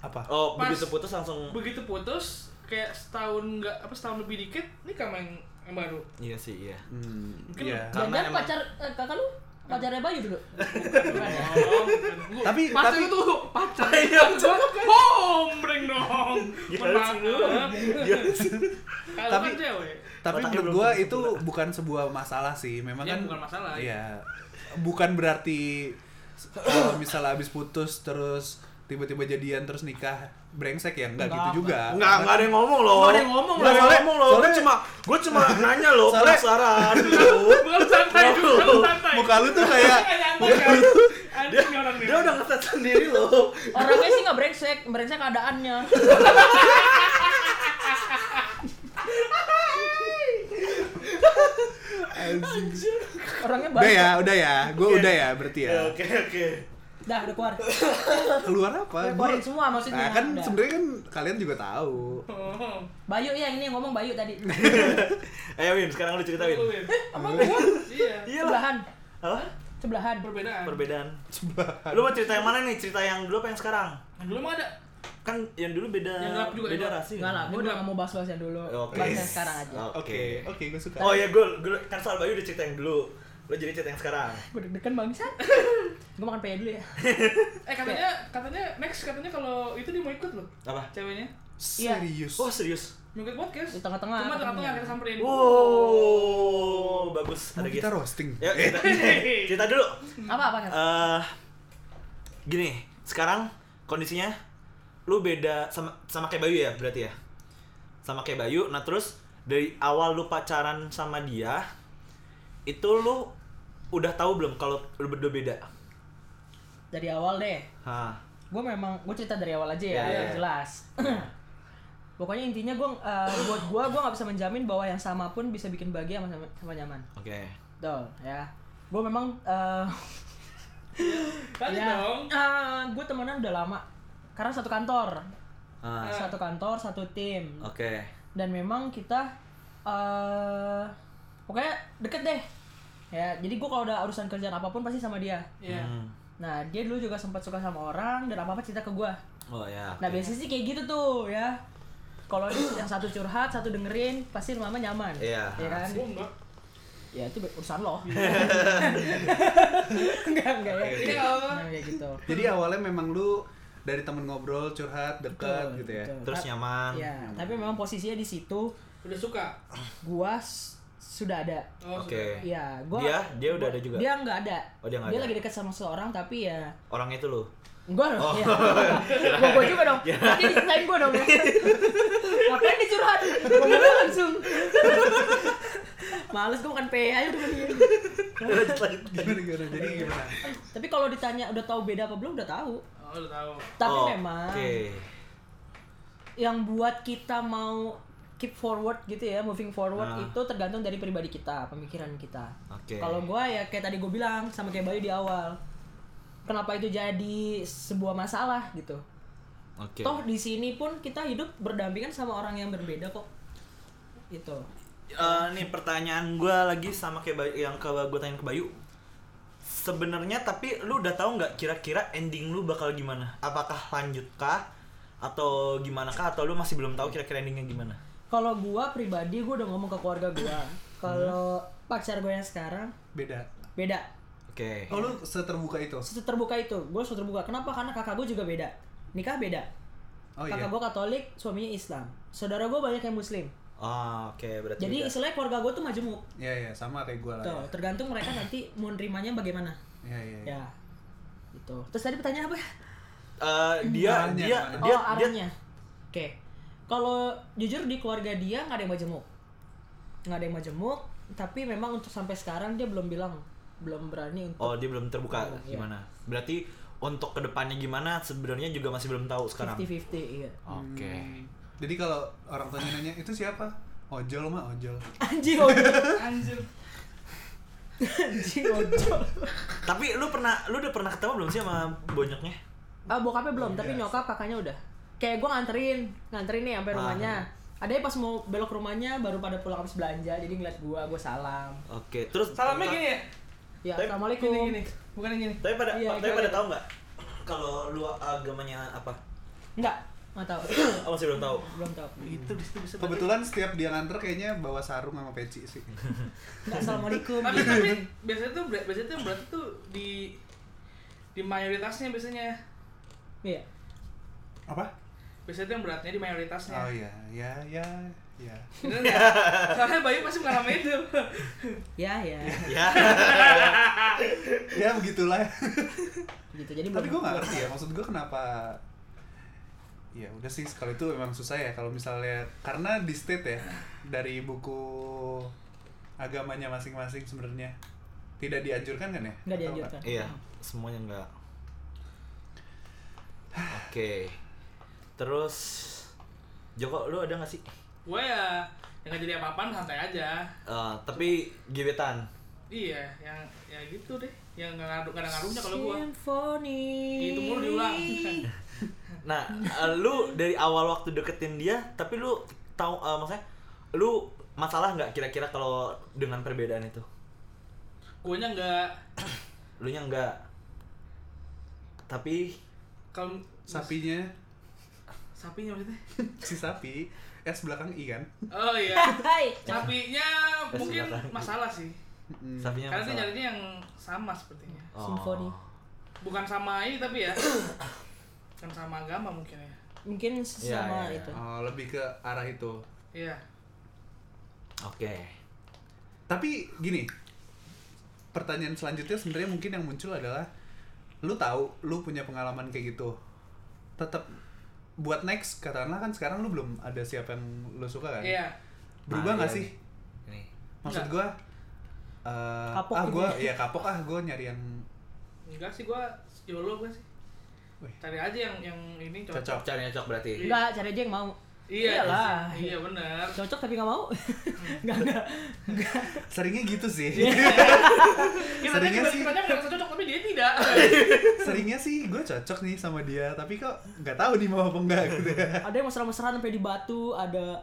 Speaker 2: apa
Speaker 1: Oh,
Speaker 3: Pas-
Speaker 1: begitu putus langsung
Speaker 3: begitu putus kayak setahun nggak apa setahun lebih dikit nikah sama yang, yang baru
Speaker 1: Iya sih, iya.
Speaker 2: hmm,
Speaker 3: Mungkin
Speaker 2: iya
Speaker 1: Karena
Speaker 4: Jangan
Speaker 1: emang-
Speaker 4: pacar eh, kakak lu pacarnya Bayu dulu.
Speaker 3: Oh, Iya, bukan.
Speaker 2: Tapi-
Speaker 3: Pas
Speaker 2: tapi-
Speaker 3: itu tuh pacar gua hombreng dong
Speaker 1: Gila
Speaker 3: menang
Speaker 1: sih lu.
Speaker 3: Gila kalau kan
Speaker 2: Tapi-
Speaker 3: cewek
Speaker 2: tapi
Speaker 1: Otaknya
Speaker 2: menurut
Speaker 1: belum
Speaker 2: gue
Speaker 1: tumbuh
Speaker 2: itu bukan sebuah masalah sih memang
Speaker 3: Iya,
Speaker 2: kan
Speaker 3: bukan masalah.
Speaker 2: iya bukan berarti kalau misalnya abis putus terus tiba-tiba jadian terus nikah brengsek ya enggak,
Speaker 4: Enggak,
Speaker 2: gitu juga
Speaker 1: Enggak, enggak ada yang ngomong loh.
Speaker 3: Nggak ada yang ngomong
Speaker 1: Nggak ada
Speaker 2: loh.
Speaker 1: yang ngomong loh. Gue
Speaker 2: Soalnya-
Speaker 1: cuma gue cuma nanya loh,
Speaker 2: Soalnya-
Speaker 1: penasaran.
Speaker 3: Bukan santai
Speaker 1: Wow.
Speaker 3: dulu, bukan santai.
Speaker 2: muka lu tuh kayak
Speaker 3: Santai, santai. Anjing nih ya? orang nih.
Speaker 1: Dia udah ngeset sendiri loh.
Speaker 4: Orangnya sih nggak brengsek, brengsek keadaannya. Orangnya
Speaker 2: udah
Speaker 4: baik.
Speaker 2: ya udah ya gue udah ya berarti ya
Speaker 1: Ya, Oke, oke.
Speaker 4: Dah udah keluar.
Speaker 2: keluar apa
Speaker 4: Udah
Speaker 2: Gua-
Speaker 4: keluarin semua maksudnya.
Speaker 2: nah kan
Speaker 4: Udah.
Speaker 2: sebenarnya kan kalian juga tahu
Speaker 3: Oh.
Speaker 4: Bayu ya ini yang ngomong Bayu tadi.
Speaker 1: Ayo Win, Eh, sekarang lu cerita Win.
Speaker 3: Lu, Win. Iya.
Speaker 1: Iyalah.
Speaker 4: Sebelahan,
Speaker 1: Apa?
Speaker 4: sebelahan.
Speaker 2: Kan.
Speaker 3: Perbedaan.
Speaker 1: Perbedaan. Lu mau cerita yang mana nih? Cerita yang dulu apa yang sekarang?
Speaker 3: Yang Dulu emang ada.
Speaker 1: Kan yang dulu beda
Speaker 3: Yang gelap juga,
Speaker 1: beda
Speaker 3: yang gelap.
Speaker 1: ras
Speaker 4: Enggak lah, gue udah nggak mau bahas-bahas yang dulu.
Speaker 1: Oke.
Speaker 4: Bahas yang sekarang aja.
Speaker 2: oke oke gue suka
Speaker 1: Oh ya gue, gue kan soal Bayu udah cerita yang dulu. Lo jadi cerita yang sekarang.
Speaker 4: Gue deg-degan bangsa. gue makan peyek dulu ya.
Speaker 3: Eh katanya katanya next katanya kalau itu dia mau ikut loh
Speaker 1: Apa?
Speaker 3: ceweknya.
Speaker 4: Iya.
Speaker 2: serius
Speaker 1: Oh serius.
Speaker 3: Mau ikut podcast.
Speaker 4: Di tengah-tengah.
Speaker 3: Cuma tengah-tengah kita samperin.
Speaker 1: Wow, bagus.
Speaker 2: mau
Speaker 1: Ada
Speaker 2: kita
Speaker 1: guys.
Speaker 2: roasting
Speaker 1: Ya cerita, cerita dulu.
Speaker 4: Apa apa kan?
Speaker 1: Eh, gini, sekarang kondisinya lu beda sama sama kayak Bayu ya berarti ya. Sama kayak Bayu. Nah terus dari awal lu pacaran sama dia, itu lu udah tahu belum kalau lu berdua beda?
Speaker 4: Dari awal deh.
Speaker 1: Hah.
Speaker 4: gue memang gue cerita dari awal aja ya,
Speaker 1: Ya, ya,
Speaker 4: biar
Speaker 1: ya.
Speaker 4: jelas pokoknya eh, intinya gue buat gue gue nggak bisa menjamin bahwa yang sama pun bisa bikin bahagia sama sama, sama nyaman
Speaker 1: Oke.
Speaker 4: Betul, ya. Gue memang eh
Speaker 3: Tadi dong.
Speaker 4: gue temenan udah lama. Karena satu kantor,
Speaker 1: Ah, Oh.
Speaker 4: satu kantor, satu tim.
Speaker 1: oke.
Speaker 4: Dan memang kita eh pokoknya deket deh. Ya, jadi gue kalau ada urusan kerjaan apapun pasti sama dia.
Speaker 3: Iya.
Speaker 1: Hmm.
Speaker 4: Nah, dia dulu juga sempat suka sama orang dan apa-apa cerita ke gue.
Speaker 1: Oh ya.
Speaker 4: Nah, biasanya sih kayak gitu tuh, ya. Kalau yang satu curhat, satu dengerin, pasti lama nyaman.
Speaker 1: Iya.
Speaker 4: Ya kan?
Speaker 3: Gua enggak.
Speaker 4: Ya itu urusan lo. enggak, enggak ya.
Speaker 3: Iya, nggak apa-apa.
Speaker 4: Nah, kayak gitu.
Speaker 2: Jadi awalnya memang lu dari temen ngobrol, curhat, dekat
Speaker 4: Betul,
Speaker 2: gitu ya.
Speaker 4: betul.
Speaker 1: Terus
Speaker 4: Ta-
Speaker 1: nyaman.
Speaker 4: Iya, tapi memang posisinya di situ
Speaker 3: Udah suka.
Speaker 4: gua s- sudah ada.
Speaker 3: Oh,
Speaker 1: Oke.
Speaker 3: suka.
Speaker 4: Iya, gua
Speaker 1: Dia? Dia udah ada juga?
Speaker 4: Dia enggak ada.
Speaker 1: Oh, dia nggak ada.
Speaker 4: lagi dekat sama seorang tapi ya
Speaker 1: Orang itu lu.
Speaker 4: Enggak dong. Ya. gua, gua juga dong. Nanti diceritain gua dong. ya. Ngapain dicurhat? Gua bilang langsung. Males ya, gua gitu. makan PA aja udah mendingan.
Speaker 1: Lanjut lagi.
Speaker 2: Gimana, gimana? Jadi
Speaker 4: Iya.
Speaker 2: gimana?
Speaker 4: Tapi kalau ditanya udah tahu beda apa belum udah tahu.
Speaker 3: Oh, udah tahu.
Speaker 4: Tapi
Speaker 1: Oh,
Speaker 4: memang
Speaker 1: Oke.
Speaker 4: yang buat kita mau keep forward gitu ya, moving
Speaker 1: Ah.
Speaker 4: forward itu tergantung dari pribadi kita, pemikiran kita.
Speaker 1: Oke.
Speaker 4: Kalau gua ya kayak tadi gua bilang sama kayak Bayu di awal. Kenapa itu jadi sebuah masalah gitu?
Speaker 1: Oke.
Speaker 4: Toh di sini pun kita hidup berdampingan sama orang yang berbeda kok. Gitu.
Speaker 1: Eh, nih pertanyaan gua lagi sama kayak Bayu- yang ke gue tanyain ke Bayu. Sebenarnya tapi lu udah tahu nggak kira-kira ending lu bakal gimana? Apakah lanjut kah? Atau gimana kah? Atau lu masih belum tahu kira-kira endingnya gimana?
Speaker 4: Kalau gua pribadi gua udah ngomong ke keluarga gua.
Speaker 2: Hmm.
Speaker 4: Kalau pacar gua yang sekarang
Speaker 2: Beda.
Speaker 4: beda.
Speaker 1: Oke.
Speaker 2: Oh, lu seterbuka itu?
Speaker 4: Terbuka itu, gua sudah terbuka. Kenapa? Karena kakak gua juga beda. Nikah beda.
Speaker 2: Oh iya.
Speaker 4: kakak gua Katolik, suaminya Islam. Saudara gua banyak yang Muslim.
Speaker 1: Ah, oke berarti.
Speaker 4: Jadi
Speaker 1: udah.
Speaker 4: istilahnya keluarga gua tuh majemuk.
Speaker 2: Iya, iya. Sama kayak gue lah. ya.
Speaker 4: Tuh, tergantung mereka nanti mau nerimanya bagaimana.
Speaker 2: Iya, iya. iya.
Speaker 4: Ya. Gitu. Terus tadi pertanyaan apa ya?
Speaker 1: Eh, dia,
Speaker 2: Arahnya,
Speaker 1: dia,
Speaker 2: arahnya.
Speaker 1: dia,
Speaker 4: Hmm, oh,
Speaker 1: dia,
Speaker 4: arahnya. Oke. Kalau jujur di keluarga dia nggak ada yang majemuk. Nggak ada yang majemuk, tapi memang untuk sampai sekarang dia belum bilang belum berani untuk
Speaker 1: oh dia belum terbuka
Speaker 4: Iya.
Speaker 1: gimana? Berarti untuk kedepannya gimana? Sebenarnya juga masih belum tahu sekarang.
Speaker 4: 50-50 iya.
Speaker 1: Oke.
Speaker 2: Hmm. Jadi kalau orang tuanya nanya, itu siapa? Ojol mah ojol.
Speaker 4: Anjing ojol.
Speaker 3: Anjir.
Speaker 4: Anjing ojol.
Speaker 1: Tapi lu pernah, lu udah pernah ketemu belum sih sama bonyoknya?
Speaker 4: Ah, bokapnya belum, tapi nyokap kakaknya udah. Kayak gua nganterin, nganterin nih sampai
Speaker 1: Ah.
Speaker 4: rumahnya. Ada pas mau belok rumahnya baru pada pulang habis belanja, jadi ngeliat gua, gua salam.
Speaker 1: Oke. Terus
Speaker 3: Salamnya gini ya?
Speaker 4: Ya,
Speaker 1: Tapi-
Speaker 4: assalamualaikum.
Speaker 3: Gini gini. Bukan yang gini.
Speaker 1: Tapi pada
Speaker 4: Iya,
Speaker 1: tapi
Speaker 4: iya,
Speaker 1: pada
Speaker 4: iya.
Speaker 1: tahu nggak kalau lu uh, agamanya apa?
Speaker 4: Enggak, nggak tahu.
Speaker 1: Oh, masih belum tahu.
Speaker 4: belum tahu.
Speaker 3: Itu di situ bisa.
Speaker 2: Kebetulan setiap dia nganter kayaknya bawa sarung sama peci sih.
Speaker 4: Enggak, assalamualaikum.
Speaker 3: Tapi tapi biasanya tuh biasanya tuh berarti tuh di di mayoritasnya biasanya
Speaker 4: Iya.
Speaker 2: Apa?
Speaker 3: biasanya tuh yang beratnya di mayoritasnya.
Speaker 1: Ah,
Speaker 2: Oh iya, ya, ya, ya.
Speaker 3: Bener nggak? Soalnya Bayu pasti mengalami itu.
Speaker 4: Ya, ya.
Speaker 1: Ya.
Speaker 2: Ya begitulah.
Speaker 4: Gitu. Jadi
Speaker 2: Tapi gue
Speaker 4: belum.
Speaker 2: gak ngerti ya, maksud gue kenapa Ya udah sih, kalau itu emang susah ya Kalau misalnya, karena di state ya Dari buku agamanya masing-masing sebenarnya Tidak dianjurkan kan ya?
Speaker 4: Enggak
Speaker 2: Atau
Speaker 4: dianjurkan.
Speaker 1: iya, semuanya nggak. Oke. Terus Joko, lu ada nggak sih?
Speaker 3: Gue ya yang nggak jadi apa-apaan santai aja.
Speaker 1: Eh, tapi gebetan.
Speaker 3: Iya, yang ya gitu deh. Yang nggak ngaruh nggak ada ngaruhnya kalau gue.
Speaker 4: Simfoni.
Speaker 3: Itu mulu diulang.
Speaker 1: Nah, eh, lu dari awal waktu deketin dia, tapi lu tahu eh, maksudnya lu masalah nggak kira-kira kalau dengan perbedaan itu?
Speaker 3: Gue nya nggak
Speaker 1: Lu nya enggak. Tapi
Speaker 3: kalau
Speaker 2: Sapinya,
Speaker 3: sapinya maksudnya.
Speaker 2: si sapi S belakang I kan?
Speaker 3: Oh iya.
Speaker 4: Hai.
Speaker 3: Sapinya
Speaker 1: Eh,
Speaker 3: mungkin
Speaker 1: silakan.
Speaker 3: masalah sih.
Speaker 2: Mm.
Speaker 1: sapinya
Speaker 3: Karena dia
Speaker 1: masalah.
Speaker 3: nyarinya yang sama sepertinya.
Speaker 1: Oh.
Speaker 4: Simfoni.
Speaker 3: Bukan sama ini tapi ya. Bukan sama agama mungkin ya.
Speaker 4: Mungkin
Speaker 1: Iya,
Speaker 4: sama
Speaker 1: iya, iya.
Speaker 4: itu.
Speaker 2: Oh, lebih ke arah itu
Speaker 3: Iya.
Speaker 1: Oke.
Speaker 2: Tapi gini, pertanyaan selanjutnya sebenarnya mungkin yang muncul adalah lu tahu lu punya pengalaman kayak gitu. Tetap buat next katakanlah kan sekarang lu belum ada siapa yang lu suka kan?
Speaker 3: Iya.
Speaker 2: Berubah
Speaker 1: Nah,
Speaker 2: nggak
Speaker 1: iya.
Speaker 2: sih?
Speaker 1: Ini.
Speaker 2: Maksud gua eh,
Speaker 4: Kapok
Speaker 2: ah
Speaker 4: gitu
Speaker 2: gua
Speaker 4: ya.
Speaker 2: ya kapok ah gua nyari yang
Speaker 3: Enggak sih gua YOLO gua sih.
Speaker 2: Wih.
Speaker 3: Cari aja yang yang ini cocok.
Speaker 2: cocok.
Speaker 1: Cocok berarti.
Speaker 2: Iya,
Speaker 4: Enggak, cari aja yang mau.
Speaker 3: Iya
Speaker 4: Iyalah.
Speaker 3: Iya benar.
Speaker 4: cocok tapi nggak mau nggak nggak nggak
Speaker 2: Seringnya gitu sih.
Speaker 1: Iya.
Speaker 3: Kita tadi
Speaker 2: Seringnya
Speaker 3: kita
Speaker 2: sih-
Speaker 3: kita merasa cocok tapi dia tidak.
Speaker 2: Seringnya sih gue cocok nih sama dia, tapi kok nggak tahu nih mau apa enggak gitu.
Speaker 4: ada yang mesra-mesraan sampai di batu ada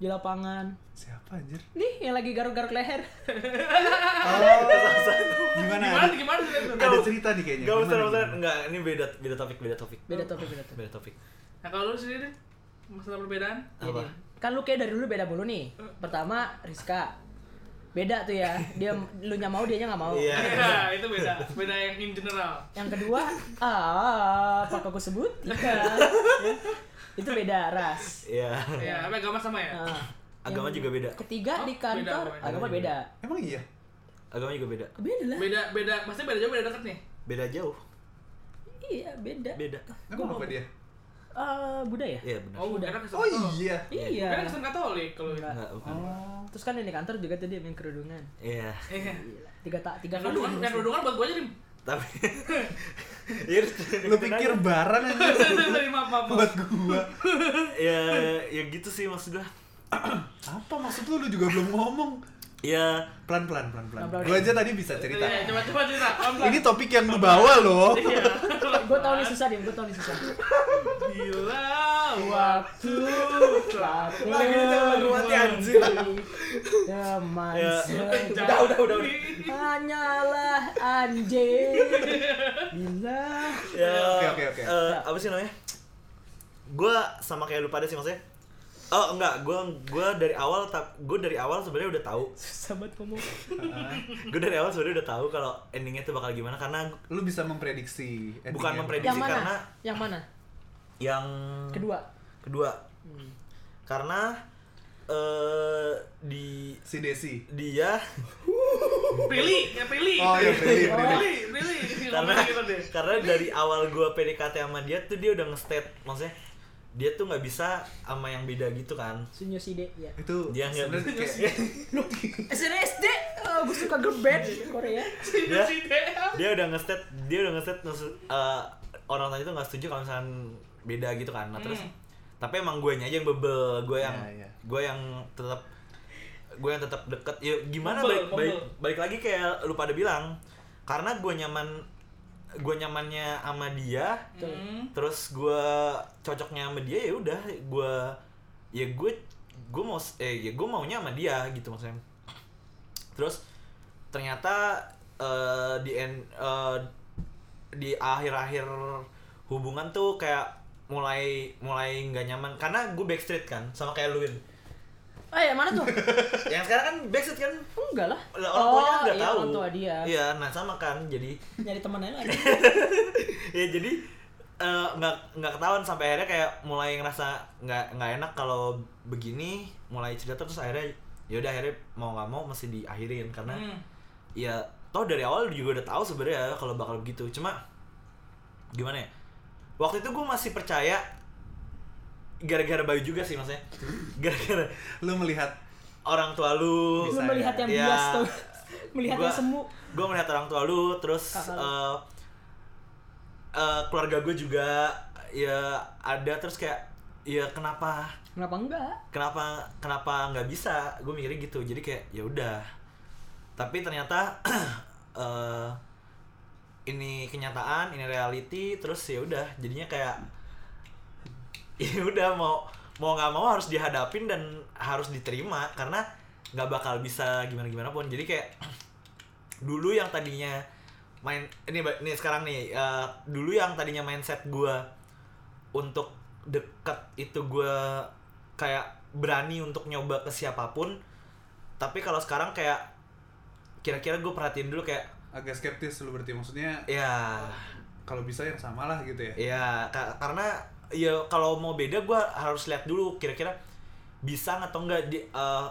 Speaker 4: di lapangan
Speaker 2: Siapa anjir?
Speaker 4: nih yang lagi garuk-garuk leher
Speaker 2: Oh, gimana?
Speaker 3: Gimana
Speaker 2: Ada,
Speaker 3: gimana gimana?
Speaker 2: ada cerita nih kayaknya.
Speaker 1: Gak usah, gak
Speaker 2: Gimana,
Speaker 1: usah.
Speaker 2: gimana?
Speaker 1: Enggak, ini beda beda topik, beda topik.
Speaker 4: beda topik beda topik
Speaker 1: Beda topik.
Speaker 3: Nah kalau lu sendiri deh, masalah perbedaan?
Speaker 1: Apa?
Speaker 4: kan lu kayak dari dulu beda mulu nih pertama Rizka beda tuh ya dia lu nya mau dia nya nggak mau
Speaker 2: Ya.
Speaker 1: Iya.
Speaker 3: Iya, itu beda. Beda yang in general.
Speaker 4: yang kedua ah apa aku sebut itu beda ras
Speaker 1: Iya.
Speaker 3: Ya, apa agama sama ya?
Speaker 4: Nah,
Speaker 1: Agama
Speaker 4: yang
Speaker 1: juga beda.
Speaker 4: ketiga
Speaker 3: Oh,
Speaker 4: di
Speaker 3: beda,
Speaker 4: kantor
Speaker 3: beda.
Speaker 4: agama beda
Speaker 2: Emang iya?
Speaker 1: Agama juga beda.
Speaker 4: beda lah
Speaker 3: Beda beda, maksudnya beda jauh beda dekat nih.
Speaker 1: Beda jauh.
Speaker 4: iya beda
Speaker 1: Beda.
Speaker 2: Emang apa dia?
Speaker 4: Eh, budaya
Speaker 1: Iya benar.
Speaker 3: Oh,
Speaker 4: Udah.
Speaker 3: karena Kristen
Speaker 2: Oh
Speaker 3: Katolik.
Speaker 2: iya.
Speaker 4: iya
Speaker 3: Karena Kristen Katolik kalau gitu. itu.
Speaker 1: Enggak, bukan.
Speaker 2: Oh.
Speaker 4: terus kan yang di kantor juga tadi main kerudungan
Speaker 1: Iya.
Speaker 3: Iya.
Speaker 4: Gila, tiga tak tiga
Speaker 3: Yang
Speaker 4: kali
Speaker 3: kerudungan, yang kerudungan buat gua aja nih.
Speaker 1: Tapi Iya.
Speaker 2: Lu pikir barang aja
Speaker 3: Sorry, maaf, maaf. maaf.
Speaker 2: buat gua.
Speaker 1: ya ya gitu sih maksud gua.
Speaker 2: Apa maksud lu? Lu juga belum ngomong.
Speaker 1: Ya
Speaker 2: Pelan-pelan, pelan-pelan.
Speaker 4: Pelan-pelan.
Speaker 2: Gua aja tadi bisa cerita.
Speaker 3: Iya, coba coba cerita. Iya.
Speaker 2: Ini topik yang lu bawa loh.
Speaker 4: gue tau nih susah deh gue tau nih susah
Speaker 3: Gila.
Speaker 4: waktu telah
Speaker 1: Lagi di dalam hati anjir.
Speaker 4: teman
Speaker 1: Ya.
Speaker 4: se-
Speaker 1: Udah, udah, udah, udah.
Speaker 4: hanyalah anjing bila
Speaker 1: ya
Speaker 2: Oke, oke, oke.
Speaker 1: eh, apa sih namanya? Gua sama kayak lu pada sih maksudnya. Oh enggak, gua gua dari awal tap gua dari awal sebenarnya udah tahu.
Speaker 4: susah banget ngomong
Speaker 1: Gua dari awal sebenarnya udah tahu kalau endingnya tuh bakal gimana karena
Speaker 2: Lu bisa memprediksi.
Speaker 1: Bukan
Speaker 2: endingnya.
Speaker 1: memprediksi.
Speaker 4: yang mana
Speaker 1: karena-
Speaker 4: yang mana
Speaker 1: yang
Speaker 4: kedua
Speaker 1: kedua
Speaker 3: Hmm.
Speaker 1: karena eh di
Speaker 2: Si Desi.
Speaker 1: dia
Speaker 3: Prilly, ya Prilly.
Speaker 2: Oh iya, Prilly, Prilly.
Speaker 3: Prilly, Prilly.
Speaker 1: karena
Speaker 3: Ngomongin gitu deh.
Speaker 1: karena dari awal gua PDKT sama dia tuh dia udah nge-state maksudnya dia tuh nggak bisa sama yang beda gitu kan
Speaker 4: sunyo side ya
Speaker 2: Itu
Speaker 1: Dia nggak-
Speaker 2: sebenarnya kayak
Speaker 4: SNSD eh, gue suka girl band Korea
Speaker 1: dia
Speaker 3: Si Dea.
Speaker 1: dia udah nge-state dia udah nge-state nge- eh, orang tadi tuh nggak setuju kalau misalkan beda gitu kan nah terus
Speaker 3: Hmm.
Speaker 1: tapi emang gue aja yang bebel gue yang
Speaker 2: Iya, iya.
Speaker 1: gue yang tetap gue yang tetap deket ya gimana
Speaker 3: Bebel,
Speaker 1: balik, balik
Speaker 3: bebel.
Speaker 1: balik lagi kayak lu pada bilang karena gue nyaman gue nyamannya sama dia
Speaker 3: Hmm.
Speaker 1: terus gue cocoknya sama dia ya udah gue ya gue gue mau eh ya gue maunya sama dia gitu maksudnya terus ternyata eh, di en- eh, di akhir-akhir hubungan tuh kayak mulai mulai nggak nyaman karena gue backstreet kan sama kayak Luin
Speaker 4: ah ya mana tuh
Speaker 1: yang sekarang kan backstreet kan
Speaker 4: enggak lah
Speaker 1: Lah, orang tuanya nggak
Speaker 4: iya,
Speaker 1: tahu
Speaker 4: orang tua dia
Speaker 1: iya nah sama kan jadi
Speaker 4: nyari temennya lagi
Speaker 1: ya jadi eh, nggak nggak ketahuan sampai akhirnya kayak mulai ngerasa nggak nggak enak kalau begini mulai cerita terus akhirnya ya udah akhirnya mau nggak mau mesti diakhirin karena
Speaker 3: Hmm.
Speaker 1: ya toh dari awal juga udah tahu sebenarnya kalau bakal begitu cuma gimana ya waktu itu gue masih percaya gara-gara bayu juga sih maksudnya gara-gara
Speaker 2: lu melihat
Speaker 1: orang tua lu
Speaker 4: lu
Speaker 2: Bisa,
Speaker 4: melihat yang
Speaker 1: ya.
Speaker 4: bias tuh melihat
Speaker 1: Gua-
Speaker 4: yang semu
Speaker 1: gue melihat orang tua lu terus
Speaker 4: Kakak lu.
Speaker 1: eh, eh, keluarga gue juga ya ada terus kayak ya kenapa
Speaker 4: kenapa enggak
Speaker 1: kenapa kenapa nggak bisa gue mikirnya gitu jadi kayak ya udah tapi ternyata eh, ini kenyataan ini reality terus ya udah jadinya kayak ya udah mau mau nggak mau harus dihadapin dan harus diterima karena nggak bakal bisa gimana gimana pun jadi kayak dulu yang tadinya main ini ba- ini sekarang nih eh, dulu yang tadinya mindset gua untuk deket itu gua kayak berani untuk nyoba ke siapapun tapi kalau sekarang kayak kira-kira gue perhatiin dulu kayak
Speaker 2: agak skeptis lu berarti maksudnya
Speaker 1: ya
Speaker 2: kalau bisa yang sama lah gitu ya.
Speaker 1: ya ka- karena ya kalau mau beda gua harus lihat dulu kira-kira bisa nggak atau enggak di eh,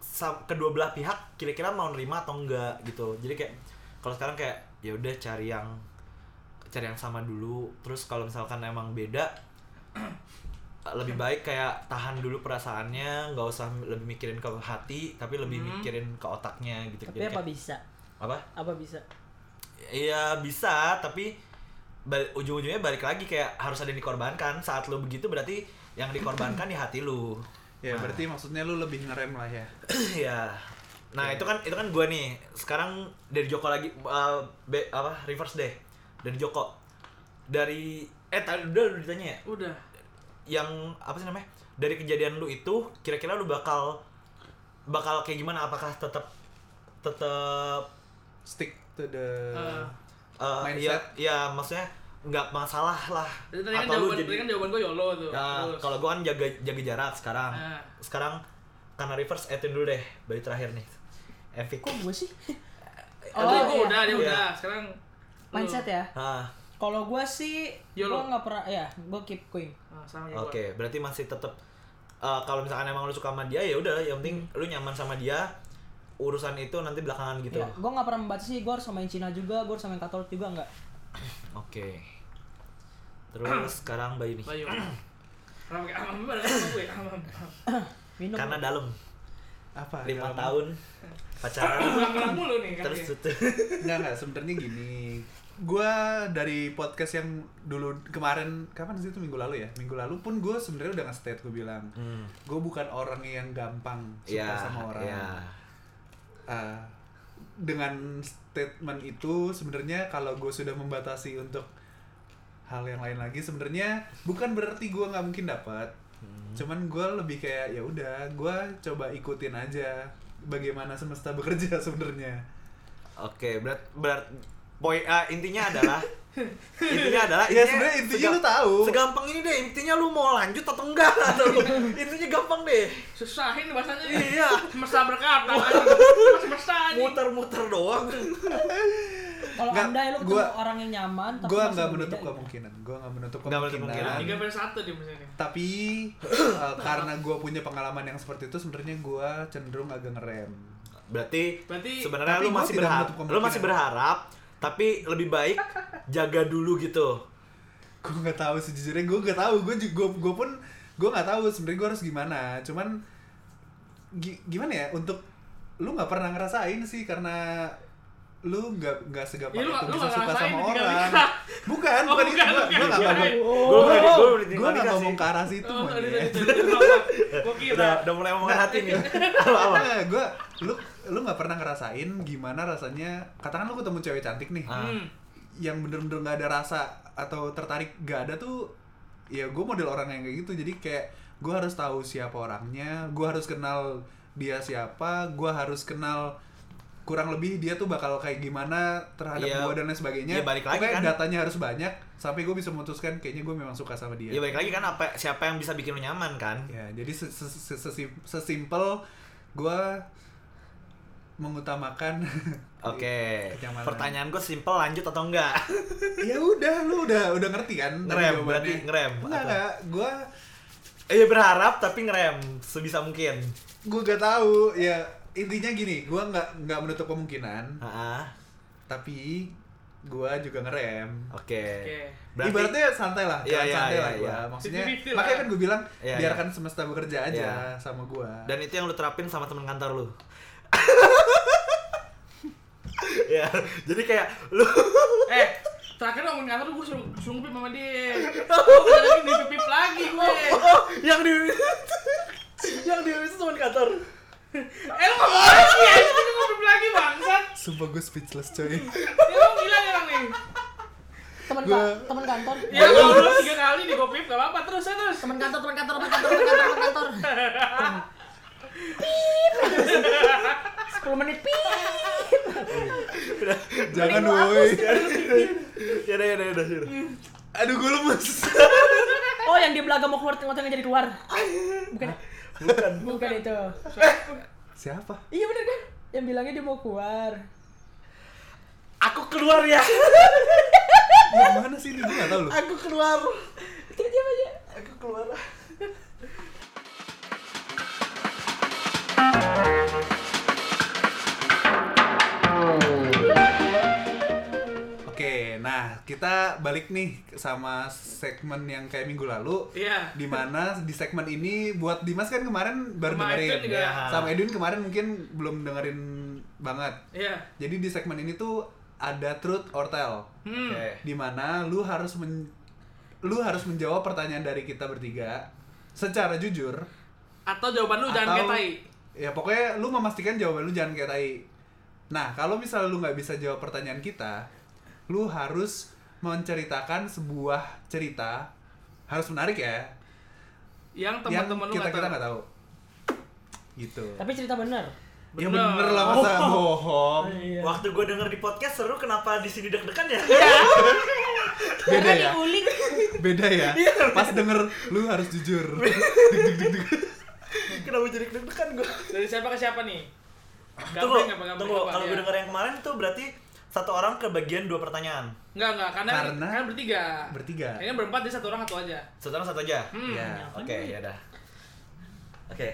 Speaker 1: sam- kedua belah pihak kira-kira mau nerima atau enggak gitu jadi kayak kalau sekarang kayak ya udah cari yang cari yang sama dulu terus kalau misalkan emang beda eh, lebih baik kayak tahan dulu perasaannya nggak usah lebih mikirin ke hati tapi lebih
Speaker 3: Hmm.
Speaker 1: mikirin ke otaknya gitu
Speaker 4: tapi
Speaker 1: Jadi
Speaker 4: apa
Speaker 1: kayak-
Speaker 4: bisa
Speaker 1: apa
Speaker 4: apa bisa
Speaker 1: Iya bisa, tapi bal- ujung-ujungnya balik lagi kayak harus ada yang dikorbankan. Saat lo begitu berarti yang dikorbankan di hati lu
Speaker 2: Ya,
Speaker 1: Nah.
Speaker 2: berarti maksudnya lu lebih ngerem lah ya.
Speaker 1: ya nah itu kan itu kan gue nih sekarang dari Joko lagi uh, be- apa reverse deh dari Joko dari eh tadi udah lu ditanya ya
Speaker 3: Udah.
Speaker 1: yang apa sih namanya dari kejadian lu itu kira-kira lu bakal bakal kayak gimana apakah tetap tetap
Speaker 2: Stick to the
Speaker 3: Eh,
Speaker 1: uh, ya
Speaker 2: Mindset.
Speaker 1: ya maksudnya nggak masalah lah
Speaker 3: tadi kan
Speaker 1: atau lu
Speaker 3: jawaban, tadi
Speaker 1: jadi
Speaker 3: kan jawaban gue YOLO tuh.
Speaker 1: Ya,
Speaker 3: Terus.
Speaker 1: kalau gua kan jaga jaga jarak sekarang
Speaker 3: Ah.
Speaker 1: sekarang karena reverse etin dulu deh balik terakhir nih Epic
Speaker 4: Kok gue sih?
Speaker 3: Oh,
Speaker 4: Oh,
Speaker 3: gue
Speaker 4: iya.
Speaker 3: udah, dia
Speaker 1: Iya.
Speaker 3: udah. Sekarang lu.
Speaker 4: Mindset ya.
Speaker 1: ah
Speaker 4: Kalau gue sih, gue
Speaker 3: YOLO.
Speaker 4: nggak pernah, ya gue keep going.
Speaker 3: Ah, sama
Speaker 1: Oke,
Speaker 3: kayak gua.
Speaker 1: berarti masih tetap uh, kalau misalkan emang lu suka sama dia ya udah, yang penting lu nyaman sama dia. Urusan itu nanti belakangan gitu.
Speaker 3: Iya.
Speaker 4: Ya,
Speaker 1: Oke.
Speaker 4: gue nggak pernah membatasi, gue harus samain Cina juga, gue harus samain Katolik juga nggak.
Speaker 1: Terus sekarang Bayu nih.
Speaker 3: Bayu. Oh, iya. Kenapa kayak amam gimana? Sama gue amam.
Speaker 4: Minum.
Speaker 1: Karena dalam
Speaker 2: apa?
Speaker 1: lima
Speaker 2: Ah, dalam-
Speaker 1: tahun pacaran
Speaker 3: Ulang-ulang mulu nih kan.
Speaker 1: terus tutup.
Speaker 2: Enggak enggak, sebenarnya gini. Gua dari podcast yang dulu kemarin kapan sih itu minggu lalu ya? Minggu lalu pun gue sebenarnya udah nge-state gue bilang,
Speaker 1: Hmm.
Speaker 2: gue bukan orang yang gampang suka
Speaker 1: Iya,
Speaker 2: sama orang.
Speaker 1: iya.
Speaker 2: Ah, dengan statement itu sebenarnya kalau gue sudah membatasi untuk hal yang lain lagi sebenarnya bukan berarti gue nggak mungkin dapat
Speaker 1: Hmm.
Speaker 2: cuman gue lebih kayak ya udah gue coba ikutin aja bagaimana semesta bekerja sebenarnya
Speaker 1: Oke, berat berat poin ah, intinya adalah intinya adalah
Speaker 2: Ya, sebenarnya intinya lu tahu.
Speaker 1: segampang ini deh intinya lu mau lanjut atau enggak atau lu- intinya gampang deh
Speaker 3: Susahin bahasanya.
Speaker 1: Iya.
Speaker 3: Semesta berkata. Semesta anjing.
Speaker 1: muter-muter doang
Speaker 4: Kalau
Speaker 2: Nggak,
Speaker 4: andai lu ketemu
Speaker 2: gua-
Speaker 4: orang yang nyaman, tapi
Speaker 2: gue
Speaker 4: masih
Speaker 2: nggak
Speaker 4: berbeda,
Speaker 2: menutup
Speaker 4: gitu.
Speaker 2: kemungkinan gue nggak menutup
Speaker 1: Nggak menutup
Speaker 2: kemungkinan
Speaker 1: kemungkinan.
Speaker 3: Tiga per satu di misalnya.
Speaker 2: tapi eh, karena gue punya pengalaman yang seperti itu sebenarnya gue cenderung agak ngerem
Speaker 1: Berarti,
Speaker 3: Berarti-
Speaker 1: sebenarnya
Speaker 2: tapi
Speaker 1: lu
Speaker 2: gua
Speaker 1: masih
Speaker 2: tidak
Speaker 1: berharap,
Speaker 2: menutup
Speaker 1: lu
Speaker 2: kemungkinan.
Speaker 1: masih berharap, tapi lebih baik jaga dulu gitu.
Speaker 2: gue nggak tahu sejujurnya gue nggak tahu gue juga gue pun gue nggak tahu sebenarnya gue harus gimana cuman gi- gimana ya untuk lu nggak pernah ngerasain sih karena lu nggak nggak segampang
Speaker 3: Ya, lu-
Speaker 2: itu
Speaker 3: lu
Speaker 2: bisa
Speaker 3: nggak
Speaker 2: suka
Speaker 3: ngerasain
Speaker 2: sama
Speaker 3: ketika
Speaker 2: orang
Speaker 3: nikah.
Speaker 2: bukan
Speaker 3: Oh,
Speaker 2: bukan itu
Speaker 3: bukan,
Speaker 2: gue
Speaker 3: bukan.
Speaker 1: Gua
Speaker 3: Iya, iya.
Speaker 2: gue nggak ngomong
Speaker 1: udah- gua udah
Speaker 2: gue nggak
Speaker 1: dikasih.
Speaker 2: ngomong ke arah situ
Speaker 3: Oh,
Speaker 2: Mon,
Speaker 3: tadi
Speaker 2: ya.
Speaker 3: tadi tadi. Gue
Speaker 1: Udah,
Speaker 3: kira.
Speaker 1: udah mulai omongan hati nih.
Speaker 2: Nah, gue lu lu nggak pernah ngerasain gimana rasanya katakan lu ketemu cewek cantik nih
Speaker 1: Ah.
Speaker 3: Hmm.
Speaker 2: yang bener-bener nggak ada rasa atau tertarik nggak ada tuh ya gue model orang yang kayak gitu jadi kayak gue harus tahu siapa orangnya gue harus kenal dia siapa gue harus kenal kurang lebih dia tuh bakal kayak gimana terhadap
Speaker 1: Iya.
Speaker 2: gue dan lain sebagainya
Speaker 1: Iya, balik lagi
Speaker 2: Pokoknya
Speaker 1: kan.
Speaker 2: datanya harus banyak sampai gue bisa memutuskan kayaknya gue memang suka sama dia
Speaker 1: Ya baik lagi kan apa siapa yang bisa bikin lu nyaman kan?
Speaker 2: Ya, jadi se- se- se- sesim- sesimpel gue mengutamakan
Speaker 1: Oke.
Speaker 2: Kenyamanan.
Speaker 1: Pertanyaan gue simpel lanjut atau enggak?
Speaker 2: ya udah lu udah udah ngerti kan tadi
Speaker 1: Ngerem,
Speaker 2: jawabannya?
Speaker 1: berarti ngerem,
Speaker 2: enggak
Speaker 1: apa?
Speaker 2: enggak gue
Speaker 1: Iya berharap tapi ngerem sebisa mungkin.
Speaker 2: gue gak tahu ya intinya gini gue nggak nggak menutup kemungkinan
Speaker 1: Heeh.
Speaker 2: tapi gue juga ngerem
Speaker 1: Oke.
Speaker 3: Oke.
Speaker 1: Berarti
Speaker 2: ibaratnya santai lah
Speaker 1: Iya,
Speaker 2: jangan
Speaker 1: iya,
Speaker 2: santai
Speaker 1: iya,
Speaker 2: lah gue
Speaker 1: iya.
Speaker 2: maksudnya
Speaker 3: 50-50
Speaker 2: makanya
Speaker 3: lah.
Speaker 2: kan gue bilang
Speaker 1: Iya,
Speaker 2: biarkan semesta bekerja aja
Speaker 1: Iya.
Speaker 2: sama gue
Speaker 1: dan itu yang lu terapin sama temen kantor lu. ya, jadi kayak lu
Speaker 3: Eh, terakhir ngomongin kantor gue suruh suruh ngepip sama dia. Gue lagi di pipip lagi gue.
Speaker 1: oh, yang di yang
Speaker 4: Iya,
Speaker 1: di itu temen kantor.
Speaker 3: Eh, lu ngomong apa sih? Ya, itu gue ngepip lagi bangsat.
Speaker 2: sumpah gue speechless coy
Speaker 3: Ya, lu gila nih orang nih.
Speaker 4: Temen,
Speaker 2: Gua-
Speaker 4: ka- temen kantor,
Speaker 1: Iya,
Speaker 3: Ya, lu ngomong tiga kali di gopip gak apa-apa terus ya terus.
Speaker 4: temen kantor, temen kantor, temen kantor, temen kantor, temen kantor. Pip. 10 menit pip.
Speaker 2: jangan woi
Speaker 1: Ya udah ya udah ya udah, ya udah.
Speaker 2: aduh gue lemes
Speaker 4: Oh, yang di belaga mau keluar, ngotong jadi keluar. Bukan,
Speaker 1: Bukan.
Speaker 4: bukan itu.
Speaker 2: siapa
Speaker 4: Iya bener kan? Yang bilangnya dia mau keluar.
Speaker 1: Aku keluar ya.
Speaker 2: yang mana sih ini gue gak tau lu
Speaker 1: Aku keluar.
Speaker 4: Itu dia aja.
Speaker 1: Aku keluar.
Speaker 2: Oke, nah kita balik nih sama segmen yang kayak minggu lalu.
Speaker 3: Iya.
Speaker 2: Di mana di segmen ini buat Dimas kan kemarin baru
Speaker 3: Sama Edwin
Speaker 2: dengerin. Iya.
Speaker 3: juga.
Speaker 2: Sama Edwin kemarin mungkin belum dengerin banget.
Speaker 3: Iya.
Speaker 2: Jadi di segmen ini tuh ada truth or tell.
Speaker 3: Hmm.
Speaker 1: Oke.
Speaker 2: Di mana lu harus men- lu harus menjawab pertanyaan dari kita bertiga secara jujur
Speaker 3: Atau jawaban lu jangan kayak
Speaker 2: atau-
Speaker 3: tai.
Speaker 2: Ya pokoknya lu memastikan jawaban lu jangan kayak tai. Nah, kalau misalnya lu nggak bisa jawab pertanyaan kita, lu harus menceritakan sebuah cerita harus menarik ya.
Speaker 3: Yang
Speaker 2: yang
Speaker 3: teman-teman lu
Speaker 2: kita
Speaker 3: nggak
Speaker 2: kita
Speaker 3: tahu.
Speaker 2: nggak tahu. Gitu.
Speaker 4: Tapi cerita bener.
Speaker 2: Ya
Speaker 3: Bener. Oh. Iya.
Speaker 2: bener lah masa bohong.
Speaker 1: Waktu gue denger di podcast seru kenapa di sini deg-degan ya?
Speaker 3: Iya.
Speaker 2: Beda
Speaker 4: Karena
Speaker 2: ya.
Speaker 4: diulik.
Speaker 2: Beda ya.
Speaker 3: Iya,
Speaker 2: Pas denger lu harus jujur.
Speaker 1: kenapa jadi deg-degan gue?
Speaker 3: Dari siapa ke siapa nih?
Speaker 1: Tunggu,
Speaker 3: Gampang, gampang, gampang.
Speaker 1: tunggu.
Speaker 3: gampang,
Speaker 1: Kalau
Speaker 3: ya.
Speaker 1: gue denger yang kemarin tuh berarti satu orang kebagian dua pertanyaan.
Speaker 3: Enggak, enggak, karena, karena
Speaker 2: Karena-
Speaker 3: kan bertiga.
Speaker 2: Bertiga.
Speaker 3: Ini berempat dia satu orang satu aja.
Speaker 1: Satu orang satu aja.
Speaker 3: Hmm.
Speaker 2: Ya.
Speaker 1: Oke, ya dah. Oke.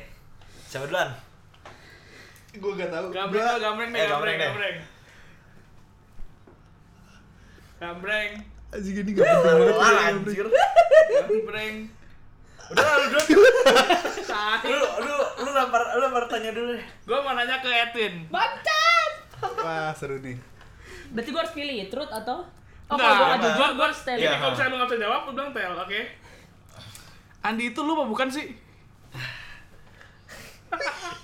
Speaker 1: Siapa duluan?
Speaker 2: Ya. Gua gak tahu.
Speaker 3: Gambreng,
Speaker 2: Gua-
Speaker 3: oh, gambreng deh,
Speaker 1: Eh,
Speaker 3: gambreng,
Speaker 1: gambreng deh.
Speaker 3: gambreng. Gambreng,
Speaker 2: Anjing ini gak penting banget.
Speaker 1: Wah, anjir.
Speaker 3: gambreng.
Speaker 1: Udah lah, lu duluan.
Speaker 3: Tai.
Speaker 1: Lu lu lu lempar lu lempar tanya dulu deh.
Speaker 3: Gua mau nanya ke Edwin.
Speaker 4: Bangsat!
Speaker 2: Wah, seru nih.
Speaker 4: Berarti gue harus pilih truth atau Oh,
Speaker 3: Enggak,
Speaker 4: kalau gue nggak
Speaker 1: apa?
Speaker 4: jujur, gue harus tell.
Speaker 1: Iya.
Speaker 3: Jadi kalau misalnya lu nggak bisa jawab, lu bilang tel, oke? Andi itu lu apa bukan sih?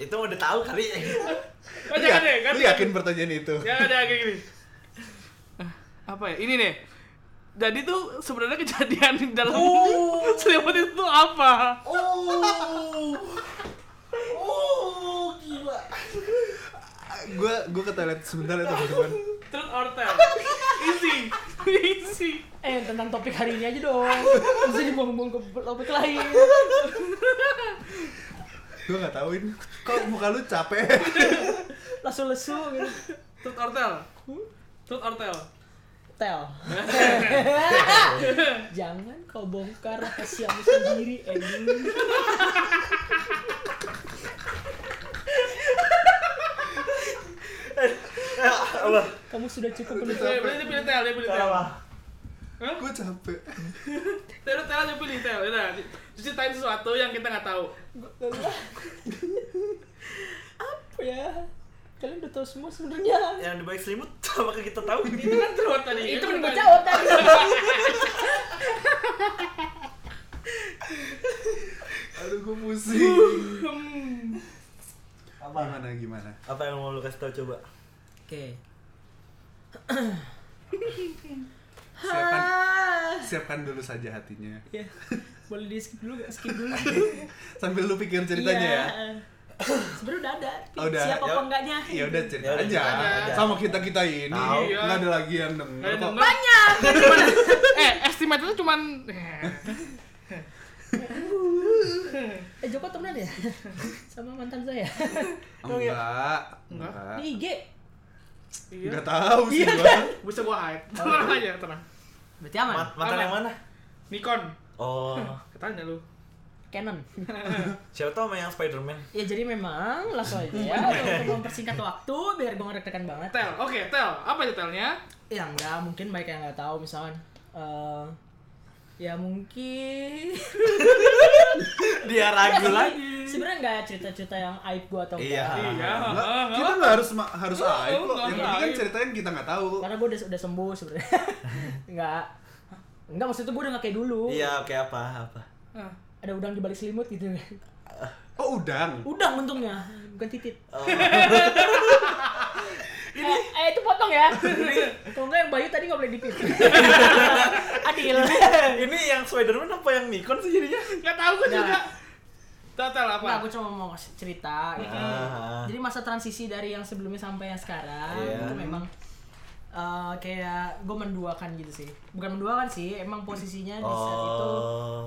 Speaker 1: Itu udah tahu kali.
Speaker 3: Oh,
Speaker 2: Lu
Speaker 3: jangan
Speaker 2: ya-
Speaker 3: deh, Ya, kan?
Speaker 2: Lu yakin pertanyaan itu?
Speaker 3: Jangan ada kayak gini. Ah, Apa ya? Ini nih. Jadi tuh sebenarnya kejadian di dalam
Speaker 4: Oh.
Speaker 3: selimut itu tuh apa?
Speaker 1: Oh. Oh, gila.
Speaker 2: Gue gue ke toilet sebentar ya teman-teman.
Speaker 3: Truth or tell? Easy, easy.
Speaker 4: Eh, tentang topik hari ini aja dong. Bisa dibuang-buang ke topik lain.
Speaker 2: Gue nggak tahuin. Kok muka lu capek?
Speaker 4: Langsung lesu gitu.
Speaker 3: Truth or tell? Truth or tell?
Speaker 4: Tell. Jangan kau bongkar rahasiamu sendiri, Edwin.
Speaker 1: Ya, Allah.
Speaker 4: Kamu sudah cukup
Speaker 3: Dia
Speaker 4: menutup.
Speaker 3: dia pilih tell, dia pilih tell.
Speaker 1: Salah.
Speaker 3: Hah?
Speaker 2: gue capek.
Speaker 3: Tell, tell aja pilih tell. Udah, ceritain sesuatu yang kita nggak tahu.
Speaker 4: Apa ya? Kalian udah tahu semua sebenarnya.
Speaker 1: Yang di balik selimut sama kita tahu
Speaker 3: Itu kan truth
Speaker 2: Ya,
Speaker 3: tadi.
Speaker 4: Itu
Speaker 3: kan
Speaker 4: mending gue
Speaker 3: tadi.
Speaker 4: jawab tadi.
Speaker 2: Aduh gue pusing.
Speaker 3: Hmm.
Speaker 1: apa?
Speaker 2: Gimana gimana?
Speaker 1: Apa yang mau lu kasih tahu coba?
Speaker 4: Oke.
Speaker 2: Siapkan
Speaker 4: Ah.
Speaker 2: siapkan dulu saja hatinya.
Speaker 4: Ya. Boleh di skip dulu gak? Skip dulu.
Speaker 2: Sambil lu pikir ceritanya
Speaker 4: Iya.
Speaker 2: ya.
Speaker 4: Sebenarnya udah ada.
Speaker 2: Oh, udah.
Speaker 4: Siapa apa
Speaker 1: Ya-
Speaker 4: enggaknya?
Speaker 3: Iya.
Speaker 2: Ya udah cerita
Speaker 1: Ya udah,
Speaker 2: aja.
Speaker 1: cerita
Speaker 3: aja.
Speaker 2: Sama kita kita ini.
Speaker 1: Tahu.
Speaker 2: Nggak ada lagi yang
Speaker 3: Iya. Nggak
Speaker 2: denger.
Speaker 3: ada
Speaker 2: kok.
Speaker 3: denger.
Speaker 4: Banyak.
Speaker 3: Cuman, eh, estimate itu cuman
Speaker 4: Eh Joko temenan ya? Sama mantan saya.
Speaker 2: Enggak.
Speaker 3: Enggak.
Speaker 2: Enggak.
Speaker 4: Di IG.
Speaker 3: Iya.
Speaker 2: Enggak tahu sih
Speaker 4: Iya
Speaker 2: gua.
Speaker 3: Bisa gua hide. Tenang aja, tenang.
Speaker 4: Berarti
Speaker 1: Ma- mantan
Speaker 3: Aman.
Speaker 1: yang mana?
Speaker 3: Nikon.
Speaker 1: Oh,
Speaker 3: Katanya lu.
Speaker 4: Canon.
Speaker 1: siapa tahu sama yang Spiderman.
Speaker 4: ya jadi memang langsung aja
Speaker 1: Iya.
Speaker 4: ya untuk mempersingkat waktu biar gue ngerek-rekan banget.
Speaker 3: Tel. Oke, tel. Apa aja telnya?
Speaker 4: Ya enggak, mungkin mereka yang nggak tahu misalkan. eh, ya mungkin
Speaker 1: Dia ragu lagi.
Speaker 4: sebenarnya nggak cerita-cerita yang aib gua atau
Speaker 1: Iya.
Speaker 4: Ah, enggak
Speaker 3: Iya.
Speaker 2: Enggak,
Speaker 3: heeh,
Speaker 2: kita
Speaker 3: heeh.
Speaker 2: nggak harus ma- harus
Speaker 3: Nggak,
Speaker 2: aib loh.
Speaker 3: nggak
Speaker 2: Yang penting kan
Speaker 3: aib.
Speaker 2: ceritanya kita nggak tahu.
Speaker 4: karena gua udah udah sembuh sebenarnya nggak nggak maksud itu gua udah nggak kayak dulu
Speaker 1: Iya, oke apa? Apa?
Speaker 3: Ah.
Speaker 4: ada udang di balik selimut gitu kan
Speaker 2: Oh udang.
Speaker 4: udang untungnya bukan titit
Speaker 1: Oh,
Speaker 4: eh, eh, itu potong ya kalau nggak yang bayu tadi nggak boleh dipikir adil
Speaker 1: ini yang Spiderman apa yang Nikon sih jadinya?
Speaker 3: Gak tau gue
Speaker 4: Nah.
Speaker 3: juga. Total apa?
Speaker 4: Nggak, gue cuma mau ngasih cerita gitu.
Speaker 1: Ah.
Speaker 4: Jadi masa transisi dari yang sebelumnya sampai yang sekarang
Speaker 1: Iya.
Speaker 4: itu memang eh, kayak gue menduakan gitu sih. Bukan menduakan sih, emang posisinya di saat itu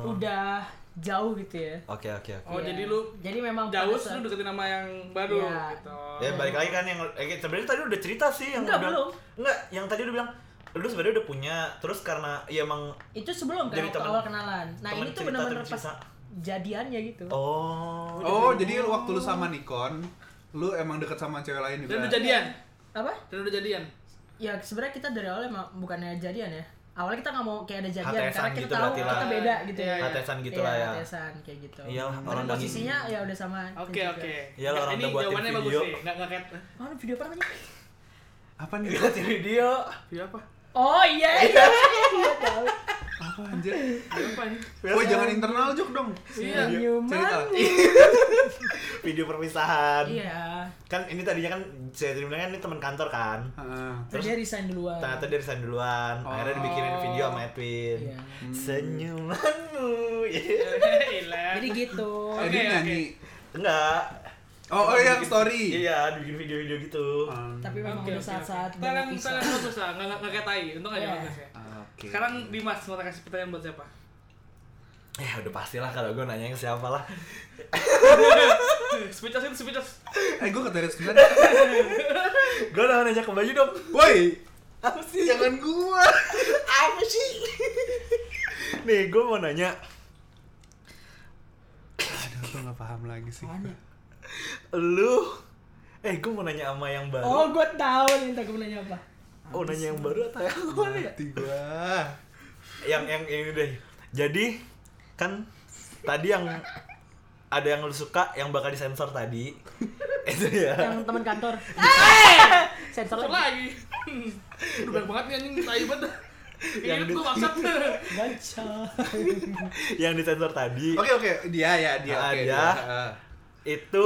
Speaker 1: Oh.
Speaker 4: udah jauh gitu ya.
Speaker 1: Oke, oke, oke.
Speaker 3: Oh,
Speaker 4: Iya.
Speaker 3: jadi lu
Speaker 4: jadi memang pada
Speaker 3: Jauh
Speaker 4: saat-
Speaker 3: lu deketin sama yang baru
Speaker 4: Iya.
Speaker 3: gitu.
Speaker 1: Ya balik lagi kan yang eh, sebenarnya tadi udah cerita sih yang
Speaker 4: Enggak,
Speaker 1: udah-
Speaker 4: belum.
Speaker 1: Enggak, yang tadi udah bilang lu sebenarnya udah punya terus karena ya emang
Speaker 4: itu sebelum kan
Speaker 1: Jadi
Speaker 4: waktu
Speaker 1: temen-
Speaker 4: awal kenalan. Nah
Speaker 1: temen
Speaker 4: ini tuh
Speaker 1: cerita,
Speaker 4: benar-benar
Speaker 1: temen
Speaker 4: pas
Speaker 1: cerita.
Speaker 4: jadiannya gitu.
Speaker 1: oh
Speaker 2: Oh, jadi waktu lu sama Nikon, lu emang deket sama cewek lain
Speaker 3: Dan
Speaker 2: juga.
Speaker 3: udah jadian.
Speaker 4: Apa?
Speaker 3: Dan udah jadian.
Speaker 4: Ya sebenarnya kita dari awal emang bukannya jadian ya. Awalnya kita nggak mau kayak ada jadian
Speaker 1: HTS-an
Speaker 4: karena kita
Speaker 1: gitu
Speaker 4: tahu
Speaker 1: berarti lah.
Speaker 4: kita beda gitu
Speaker 3: Iya,
Speaker 4: ya.
Speaker 1: HTS-an gitu lah ya.
Speaker 4: HTS-an kayak gitu.
Speaker 1: Iyalah,
Speaker 4: Karena
Speaker 1: orang daging.
Speaker 4: posisinya ya udah sama.
Speaker 3: Oke,
Speaker 4: juga.
Speaker 3: oke.
Speaker 1: Iya, lah,
Speaker 3: Nah,
Speaker 1: orang
Speaker 3: Ini
Speaker 1: udah buatin
Speaker 3: jawabannya bagus
Speaker 1: video.
Speaker 3: sih. Enggak enggak kayak
Speaker 4: Mana video apa namanya?
Speaker 2: Apa nih?
Speaker 1: video
Speaker 3: video apa?
Speaker 4: Oh iya iya. Iya, tahu.
Speaker 2: Apa anjir?
Speaker 3: Apa ya?
Speaker 2: Woi jangan internal juk dong.
Speaker 3: Iya.
Speaker 2: Cerita.
Speaker 1: Video perpisahan.
Speaker 4: Iya.
Speaker 1: Kan ini tadinya kan saya bilang kan ini teman kantor kan.
Speaker 2: Heeh.
Speaker 4: Terus dia resign duluan.
Speaker 2: Nah,
Speaker 1: Ternyata dia resign duluan. Akhirnya dibikinin video sama Edwin.
Speaker 4: Iya.
Speaker 1: Senyumanmu. Iya.
Speaker 4: Jadi gitu.
Speaker 2: Eh, dia
Speaker 3: Oke,
Speaker 2: nyanyi.
Speaker 1: Enggak.
Speaker 2: Oh, oh yang story.
Speaker 1: Iya, dibikin video-video gitu.
Speaker 2: Hmm,
Speaker 4: Tapi memang
Speaker 3: Oke,
Speaker 4: udah
Speaker 3: oke,
Speaker 4: saat-saat
Speaker 3: oke.
Speaker 4: banyak
Speaker 3: Kalian
Speaker 4: pisah.
Speaker 3: kalian bagus lah, nggak nggak kayak tai. Untung aja
Speaker 4: Iya.
Speaker 3: bagus ya.
Speaker 2: Oke.
Speaker 3: Sekarang Dimas mau kasih pertanyaan buat siapa?
Speaker 1: Eh, udah pastilah kalau gue nanya ke siapa lah.
Speaker 3: Speechless itu speechless.
Speaker 2: eh gue keteres sebentar.
Speaker 1: gue udah nanya ke Bayu dong.
Speaker 2: Woi,
Speaker 1: Apa sih?
Speaker 2: jangan gua.
Speaker 1: Apa sih? Nih, gue mau nanya.
Speaker 2: Aduh, gue gak paham lagi sih.
Speaker 4: Banyak.
Speaker 1: Lu Eh, gue mau nanya sama yang
Speaker 4: Oh,
Speaker 1: baru.
Speaker 4: gue tahu nih entar gue nanya apa.
Speaker 1: Oh, nanya yang baru atau yang mana ya?
Speaker 2: Mati gua.
Speaker 1: yang yang ini deh jadi kan tadi yang ada yang lu suka yang bakal disensor tadi itu ya
Speaker 4: Yang teman kantor.
Speaker 3: Eh!
Speaker 4: Sensor
Speaker 3: Sensor
Speaker 4: lagi.
Speaker 3: lagi. Udah banyak banget nih anjing tai banget.
Speaker 1: Yang
Speaker 3: Yang
Speaker 1: di-
Speaker 3: itu maksud.
Speaker 4: Baca.
Speaker 1: yang disensor tadi
Speaker 2: Oke oke, dia ya, dia
Speaker 1: Ah,
Speaker 2: oke.
Speaker 1: dia.
Speaker 2: Heeh.
Speaker 1: itu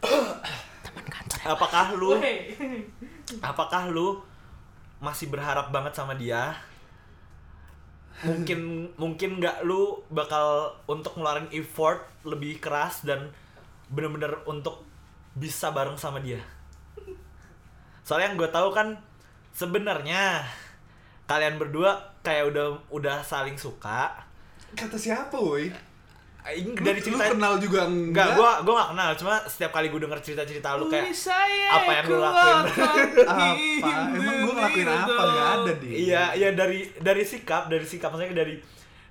Speaker 1: ya. apakah lu
Speaker 3: Weh.
Speaker 1: apakah lu masih berharap banget sama dia mungkin mungkin nggak lu bakal untuk ngeluarin effort lebih keras dan bener-bener untuk bisa bareng sama dia soalnya yang gue tahu kan sebenarnya kalian berdua kayak udah udah saling suka
Speaker 2: Kata siapa, woi?
Speaker 1: Ini
Speaker 2: Lu-
Speaker 1: dari
Speaker 2: lu
Speaker 1: cerita
Speaker 2: kenal juga
Speaker 1: nggak
Speaker 2: enggak?
Speaker 1: gue gue nggak kenal cuma setiap kali gue denger cerita-cerita lu kayak
Speaker 3: Ui, saya
Speaker 1: apa yang lu lakuin?
Speaker 3: keluarkan
Speaker 2: apa? Emang gua ngelakuin
Speaker 3: diri
Speaker 2: apa?
Speaker 3: gitu dong.
Speaker 2: Enggak ada, Di.
Speaker 1: Iya, iya dari dari sikap, dari sikap maksudnya dari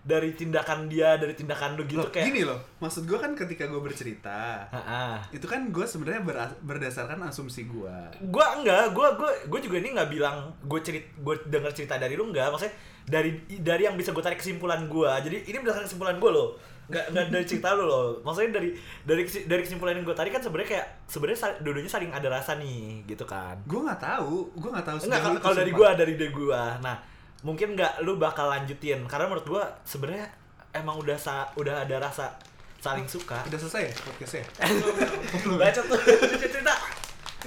Speaker 1: dari tindakan dia, dari tindakan lu gitu
Speaker 2: Loh,
Speaker 1: kayak.
Speaker 2: gini loh. Maksud gua kan ketika gua bercerita,
Speaker 1: Heeh.
Speaker 2: itu kan gua sebenarnya beras- berdasarkan asumsi gua.
Speaker 1: Gua enggak, gua gua gua juga ini nggak bilang gue cerit gue denger cerita dari lu enggak, maksudnya dari dari yang bisa gue tarik kesimpulan gua. Jadi ini berdasarkan kesimpulan gua loh. Enggak enggak dari cerita lu loh. Maksudnya dari dari kesi- dari kesimpulan yang gue tarik kan sebenarnya kayak sebenarnya sal- dua-duanya saling ada rasa nih, gitu kan.
Speaker 2: Gua nggak tahu, gua nggak tahu
Speaker 1: Enggak kalau
Speaker 2: sejauh itu,
Speaker 1: kalau dari
Speaker 2: sumpah.
Speaker 1: gua dari dari gua. Nah, mungkin nggak lu bakal lanjutin karena menurut gua sebenarnya emang udah sa udah ada rasa saling suka.
Speaker 2: Udah selesai ya podcastnya?
Speaker 1: Baca tuh cerita.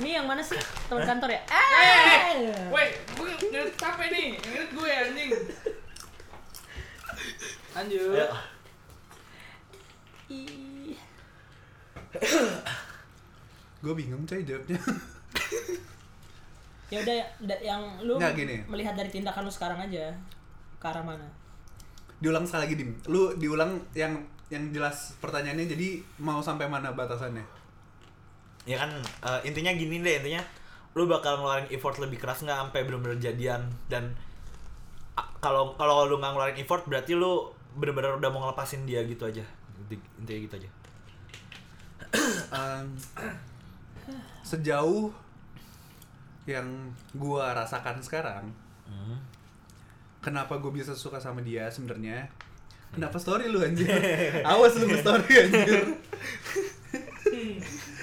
Speaker 4: Ini yang mana sih? Teman kantor ya? Eh.
Speaker 3: Weh, gue ngerit capek nih, ngerit gue anjing. Lanjut.
Speaker 1: Ayo.
Speaker 4: Ih.
Speaker 2: Gua bingung coy jawabnya.
Speaker 4: Ya udah ya, da- yang lu
Speaker 2: Nggak, gini.
Speaker 4: melihat dari tindakan lu sekarang aja ke arah mana?
Speaker 2: diulang sekali lagi dim. Lu diulang yang yang jelas pertanyaannya jadi mau sampai mana batasannya?
Speaker 1: Ya kan eh, intinya gini deh intinya lu bakal ngeluarin effort lebih keras nggak sampai bener-bener jadian dan a- kalau kalau lu nggak ngeluarin effort berarti lu bener-bener udah mau ngelepasin dia gitu aja. Inti- Intinya gitu aja.
Speaker 2: Em, sejauh yang gua rasakan sekarang,
Speaker 1: Hmm.
Speaker 2: kenapa gue bisa suka sama dia sebenarnya? Kenapa
Speaker 1: Hmm.
Speaker 2: story lu anjir? Awas lu story anjir.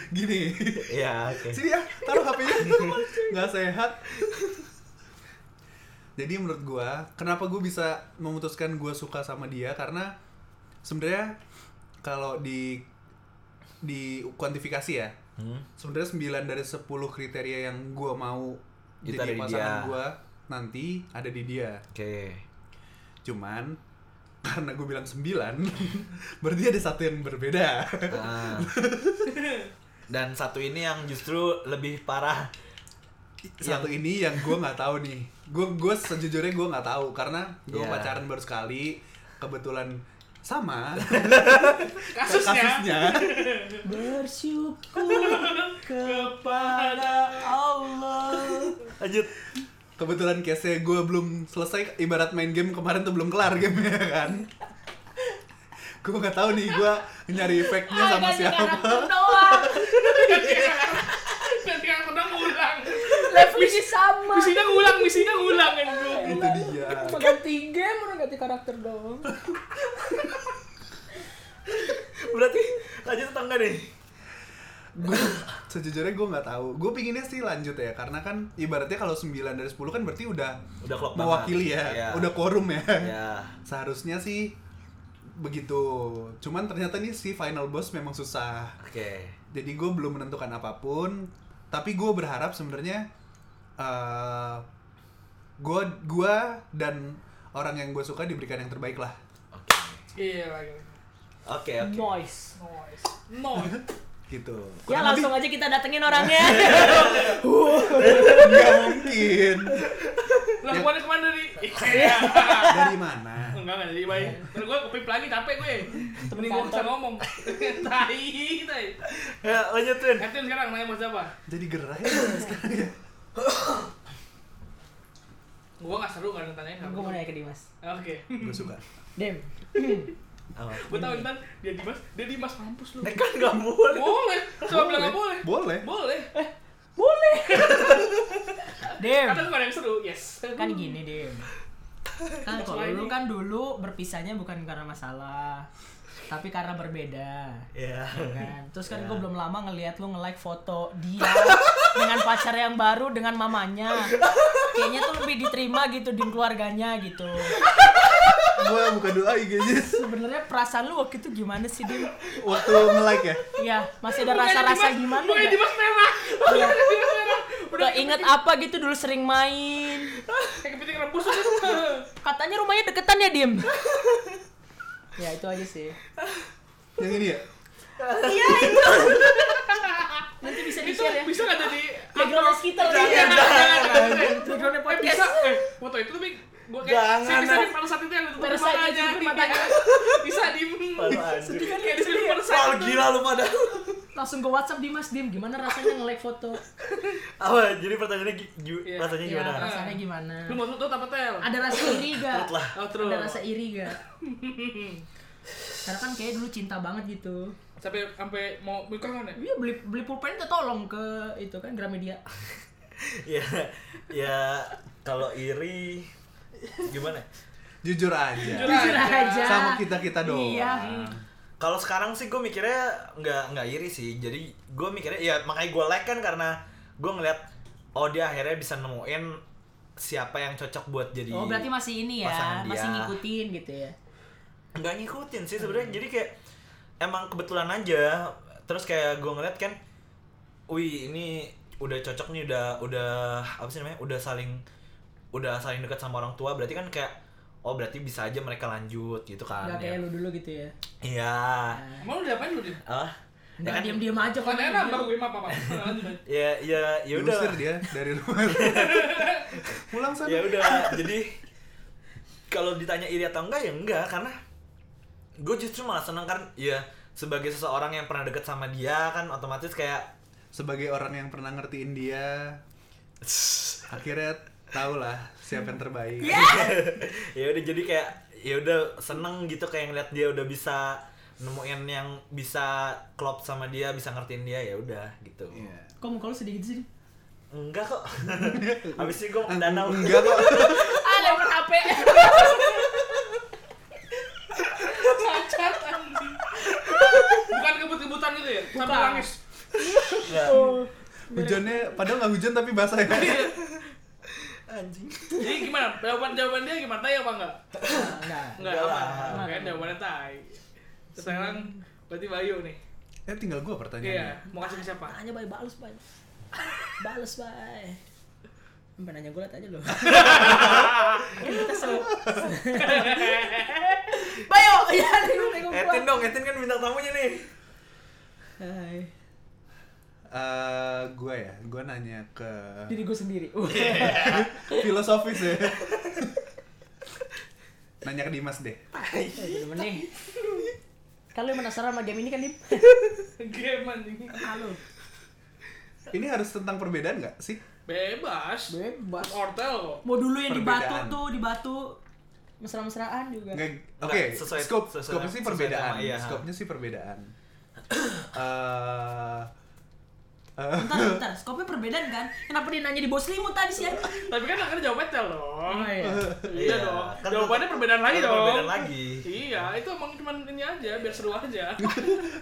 Speaker 2: Gini.
Speaker 1: Iya, oke.
Speaker 2: Sini ya, taruh HP-nya. Nggak sehat. Jadi menurut gua, kenapa gue bisa memutuskan gua suka sama dia karena sebenarnya kalau di di kuantifikasi ya,
Speaker 1: Hmm.
Speaker 2: sebenarnya 9 dari 10 kriteria yang gua mau
Speaker 1: Itu ada
Speaker 2: jadi
Speaker 1: di
Speaker 2: pasangan
Speaker 1: dia.
Speaker 2: gua nanti ada di dia.
Speaker 1: Oke.
Speaker 2: Cuman karena gue bilang 9 berarti ada satu yang berbeda.
Speaker 1: Ah. Dan satu ini yang justru lebih parah.
Speaker 2: satu ini yang gue nggak tahu nih gue gue sejujurnya gue nggak tahu karena gue
Speaker 1: Iya.
Speaker 2: pacaran baru sekali kebetulan sama
Speaker 3: Kasusnya.
Speaker 2: kasusnya
Speaker 4: Bersyukur kepada Allah.
Speaker 1: Lanjut.
Speaker 2: kebetulan case gue belum selesai ibarat main game kemarin tuh belum kelar gamenya kan gue nggak tahu nih gue nyari efeknya sama
Speaker 4: Ada di
Speaker 2: siapa
Speaker 4: karakter doang.
Speaker 3: Nanti kan udah ngulang.
Speaker 4: Levelnya sama.
Speaker 3: Misinya ngulang, misinya ngulang kan gue.
Speaker 2: itu dia
Speaker 4: Cuma ganti game udah ganti karakter dong.
Speaker 1: Berarti lanjut atau enggak nih?
Speaker 2: gue sejujurnya gue nggak tahu gue pinginnya sih lanjut ya karena kan ibaratnya kalau 9 dari 10 kan berarti udah
Speaker 1: Udah klop banget.
Speaker 2: mewakili ya
Speaker 1: Iya.
Speaker 2: udah quorum ya
Speaker 1: Ya.
Speaker 2: seharusnya sih begitu cuman ternyata nih si final boss memang susah
Speaker 1: Oke.
Speaker 2: jadi gue belum menentukan apapun tapi gue berharap sebenarnya eh, gue gua dan orang yang gue suka diberikan yang terbaik lah
Speaker 1: Oke.
Speaker 3: Iya lagi.
Speaker 1: Oke, oke.
Speaker 4: Noise.
Speaker 3: Noise. Noise.
Speaker 2: gitu
Speaker 4: Ya
Speaker 2: Kurang
Speaker 4: langsung aja kita datengin orangnya.
Speaker 2: lebih nggak mungkin
Speaker 3: Lah kemana kemana dari?
Speaker 2: dari mana
Speaker 3: Enggak enggak jadi baik. Terus gue kepip lagi capek gue. Temen gue bisa
Speaker 4: kantor.
Speaker 3: ngomong. Tai, tai.
Speaker 1: Ya, lanjutin.
Speaker 3: Captain sekarang nanya mau siapa?
Speaker 2: jadi gerai ya sekarang ya
Speaker 3: Gue nggak seru kan tanyain nggak
Speaker 4: Gue mau nanya ke Dimas.
Speaker 3: Oke.
Speaker 2: gue suka
Speaker 4: Dem.
Speaker 1: Oh.
Speaker 3: Gue tahu Intan dia Dimas, dia Dimas mampus lu.
Speaker 1: Eh kan gak boleh.
Speaker 3: Boleh. Coba bilang nggak boleh.
Speaker 2: boleh
Speaker 3: Boleh.
Speaker 4: Eh. Boleh. Dem.
Speaker 3: Kata gue ada yang seru. Yes.
Speaker 4: Kan gini, Dem. Kan kalau lu kan dulu berpisahnya bukan karena masalah, tapi karena berbeda.
Speaker 1: Ya.
Speaker 4: Ya kan? Terus kan gue belum lama ngelihat lu nge-like foto dia dengan pacar yang baru dengan mamanya. Kayaknya tuh lebih diterima gitu di keluarganya gitu.
Speaker 2: gue buka doa IG-nya
Speaker 4: Sebenarnya perasaan lu waktu itu gimana sih, Dim?
Speaker 2: waktu nge-like ya
Speaker 4: Iya, masih ada rasa-rasa gimana?
Speaker 3: Gue
Speaker 4: nggak?
Speaker 3: Dimas merah.
Speaker 4: Iya.
Speaker 3: Bukannya Dimas merah. Udah
Speaker 4: Udah inget apa gitu dulu sering main.
Speaker 3: kayak kepiting rebus. udah.
Speaker 4: Katanya rumahnya deketan ya, Dim? ya, itu aja sih.
Speaker 2: yang ini ya
Speaker 4: Iya, itu. Nanti bisa
Speaker 3: Itu
Speaker 4: di-share ya.
Speaker 3: bisa nggak jadi
Speaker 4: Background noise kita loh.
Speaker 3: Iya, jangan, jangan, jangan.
Speaker 4: Backgroundnya
Speaker 3: Eh,
Speaker 4: podcast.
Speaker 3: bisa, eh, foto itu tapi gue kayak
Speaker 1: Iya. Jangan,
Speaker 3: saya bisa
Speaker 1: Nat.
Speaker 3: di pada saat itu yang tutup
Speaker 4: Pada saat
Speaker 3: matanya,
Speaker 4: itu tutup
Speaker 3: iya.
Speaker 4: matanya.
Speaker 3: bisa di
Speaker 1: Parah,
Speaker 4: Sedih kan
Speaker 3: kayak
Speaker 4: ya,
Speaker 3: di sini pada saat
Speaker 1: Soal
Speaker 3: itu.
Speaker 1: gila lu pada.
Speaker 4: Langsung ke WhatsApp Dimas, Dim. Gimana rasanya nge-like foto?
Speaker 1: Apa? Jadi pertanyaannya gi- gi-
Speaker 3: Iya.
Speaker 1: rasanya
Speaker 4: Ya,
Speaker 1: gimana?
Speaker 4: rasanya gimana?
Speaker 3: Lu mau tutup apa tel?
Speaker 4: Ada rasa iri gak?
Speaker 1: Perut lah.
Speaker 3: Oh, true.
Speaker 4: Ada rasa iya. iri gak? Karena kan kayak dulu cinta banget gitu.
Speaker 3: Sampai sampai mau nikah kan ya?
Speaker 4: Iya beli beli pulpen itu tolong ke itu kan Gramedia.
Speaker 1: Ya, ya kalau iri gimana?
Speaker 2: jujur aja
Speaker 3: Jujur
Speaker 4: Jujur aja.
Speaker 2: sama kita kita doang
Speaker 4: Iya.
Speaker 1: Kalau sekarang sih gue mikirnya nggak nggak iri sih. Jadi gue mikirnya ya makanya gue like kan karena gue ngeliat oh dia akhirnya bisa nemuin siapa yang cocok buat jadi
Speaker 4: Oh berarti masih ini ya,
Speaker 1: Pasangan
Speaker 4: masih
Speaker 1: dia.
Speaker 4: ngikutin gitu ya.
Speaker 1: nggak ngikutin
Speaker 4: Hmm.
Speaker 1: sih sebenarnya jadi kayak emang kebetulan aja terus kayak gue ngeliat kan wih ini udah cocok nih udah udah apa sih namanya udah saling udah saling dekat sama orang tua berarti kan kayak oh berarti bisa aja mereka lanjut gitu kan
Speaker 4: Gak kayak
Speaker 1: ya
Speaker 4: lu dulu gitu ya.
Speaker 1: iya
Speaker 3: Emang lu udah apain lu di?
Speaker 1: ah
Speaker 4: Nggak diam-diam aja kalau
Speaker 3: Kontennya
Speaker 4: gitu.
Speaker 3: nambah gue mah apa?
Speaker 1: ya ya ya udah
Speaker 2: diusir dia dari rumah pulang sana
Speaker 1: ya udah jadi kalau ditanya iri atau enggak ya enggak karena gue justru malah seneng kan ya sebagai seseorang yang pernah deket sama dia kan otomatis kayak
Speaker 2: sebagai orang yang pernah ngertiin dia akhirnya tau lah siapa yang terbaik
Speaker 1: ya udah jadi kayak ya udah seneng gitu kayak ngeliat dia udah bisa nemuin yang bisa klop sama dia bisa ngertiin dia ya udah gitu
Speaker 2: Iya.
Speaker 4: Kok muka lu sedih gitu sih?
Speaker 1: enggak kok habis ini gue danau
Speaker 2: enggak kok
Speaker 4: Ah, lempar HP.
Speaker 3: Cacat anjing. Bukan kebut-kebutan gitu ya? Sampai
Speaker 4: Bukan.
Speaker 3: nangis.
Speaker 1: Enggak.
Speaker 3: Oh,
Speaker 2: hujannya padahal nggak hujan tapi basah ya
Speaker 1: anjing
Speaker 3: Jadi gimana? Jawaban jawaban dia gimana? Tai apa enggak?
Speaker 4: Nah, enggak.
Speaker 3: Enggak
Speaker 1: Enggak
Speaker 3: aman.
Speaker 1: lah.
Speaker 3: Kan jawabannya tai. Sekarang berarti Bayu nih.
Speaker 2: eh tinggal gua
Speaker 3: Iya,
Speaker 2: pertanyaannya
Speaker 3: mau kasih ke siapa?
Speaker 4: Tanya bay, balas bay. Balas bay. Sampai nanya gue liat aja loh. Kan kita seru. Bayo, ya lu tengok gua.
Speaker 1: Etin dong Etin kan bintang tamunya nih
Speaker 4: Hai.
Speaker 2: Eh, gua ya gua nanya ke
Speaker 4: Diri gue sendiri. Uh.
Speaker 2: Iya, filosofis ya nanya ke Dimas deh
Speaker 4: Eh, Temen nih. Kan lu yang penasaran sama game ini kan, Dim?
Speaker 3: Game anjing.
Speaker 4: Halo.
Speaker 2: ini harus tentang perbedaan nggak sih
Speaker 3: Bebas.
Speaker 4: Bebas.
Speaker 3: Ortel kok.
Speaker 4: Mau dulu yang di batu
Speaker 2: Perbedaan.
Speaker 4: tuh, di batu. Mesra-mesraan juga.
Speaker 2: Nggak-
Speaker 1: Nggak,
Speaker 2: oke
Speaker 1: sesuai-
Speaker 2: scope
Speaker 1: sesuai-
Speaker 2: scope-nya sih
Speaker 1: sesuai
Speaker 2: perbedaan
Speaker 1: tema, iya.
Speaker 2: scope-nya sih perbedaan Eh, eh,
Speaker 4: Bentar, bentar. Skopnya perbedaan kan? Kenapa dia nanya di bos selimut tadi sih? anjing?
Speaker 3: Tapi kan akhirnya jawabnya tel dong.
Speaker 4: Oh iya.
Speaker 3: Iya dong. Jawabannya perbedaan lagi
Speaker 1: Kan
Speaker 3: dong.
Speaker 1: Perbedaan lagi.
Speaker 3: Iya, itu emang cuman ini aja biar seru aja.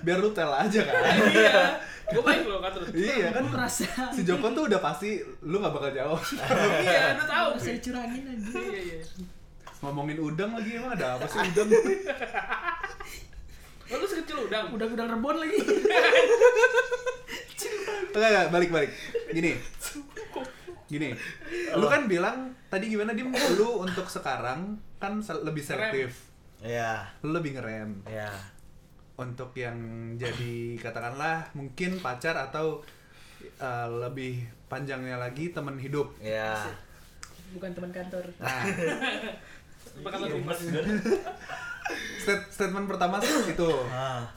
Speaker 2: biar lu tel aja kan
Speaker 3: iya. Gue baik loh kan terus.
Speaker 2: iya kan
Speaker 4: Gue merasa
Speaker 2: si Joko tuh udah pasti lu gak bakal jawab
Speaker 3: Iya, udah tahu.
Speaker 4: merasa
Speaker 3: Pi.
Speaker 4: dicurangin aja.
Speaker 3: Iya, iya.
Speaker 2: ngomongin udang lagi emang ada apa sih udang
Speaker 3: Oh, lu sekecil udang.
Speaker 4: Udang-udang rebon lagi.
Speaker 2: enggak enggak balik balik gini gini lu kan bilang tadi gimana dim lu untuk sekarang kan se- lebih selektif
Speaker 1: Iya.
Speaker 2: lu lebih ngerem
Speaker 1: Iya.
Speaker 2: untuk yang jadi katakanlah mungkin pacar atau eh, lebih panjangnya lagi teman hidup
Speaker 1: Iya.
Speaker 4: Bukan teman kantor.
Speaker 2: nah
Speaker 3: Bakal
Speaker 1: Iya,
Speaker 3: terima.
Speaker 1: mas, bener.
Speaker 2: stat- statement pertama sih itu
Speaker 1: Ah.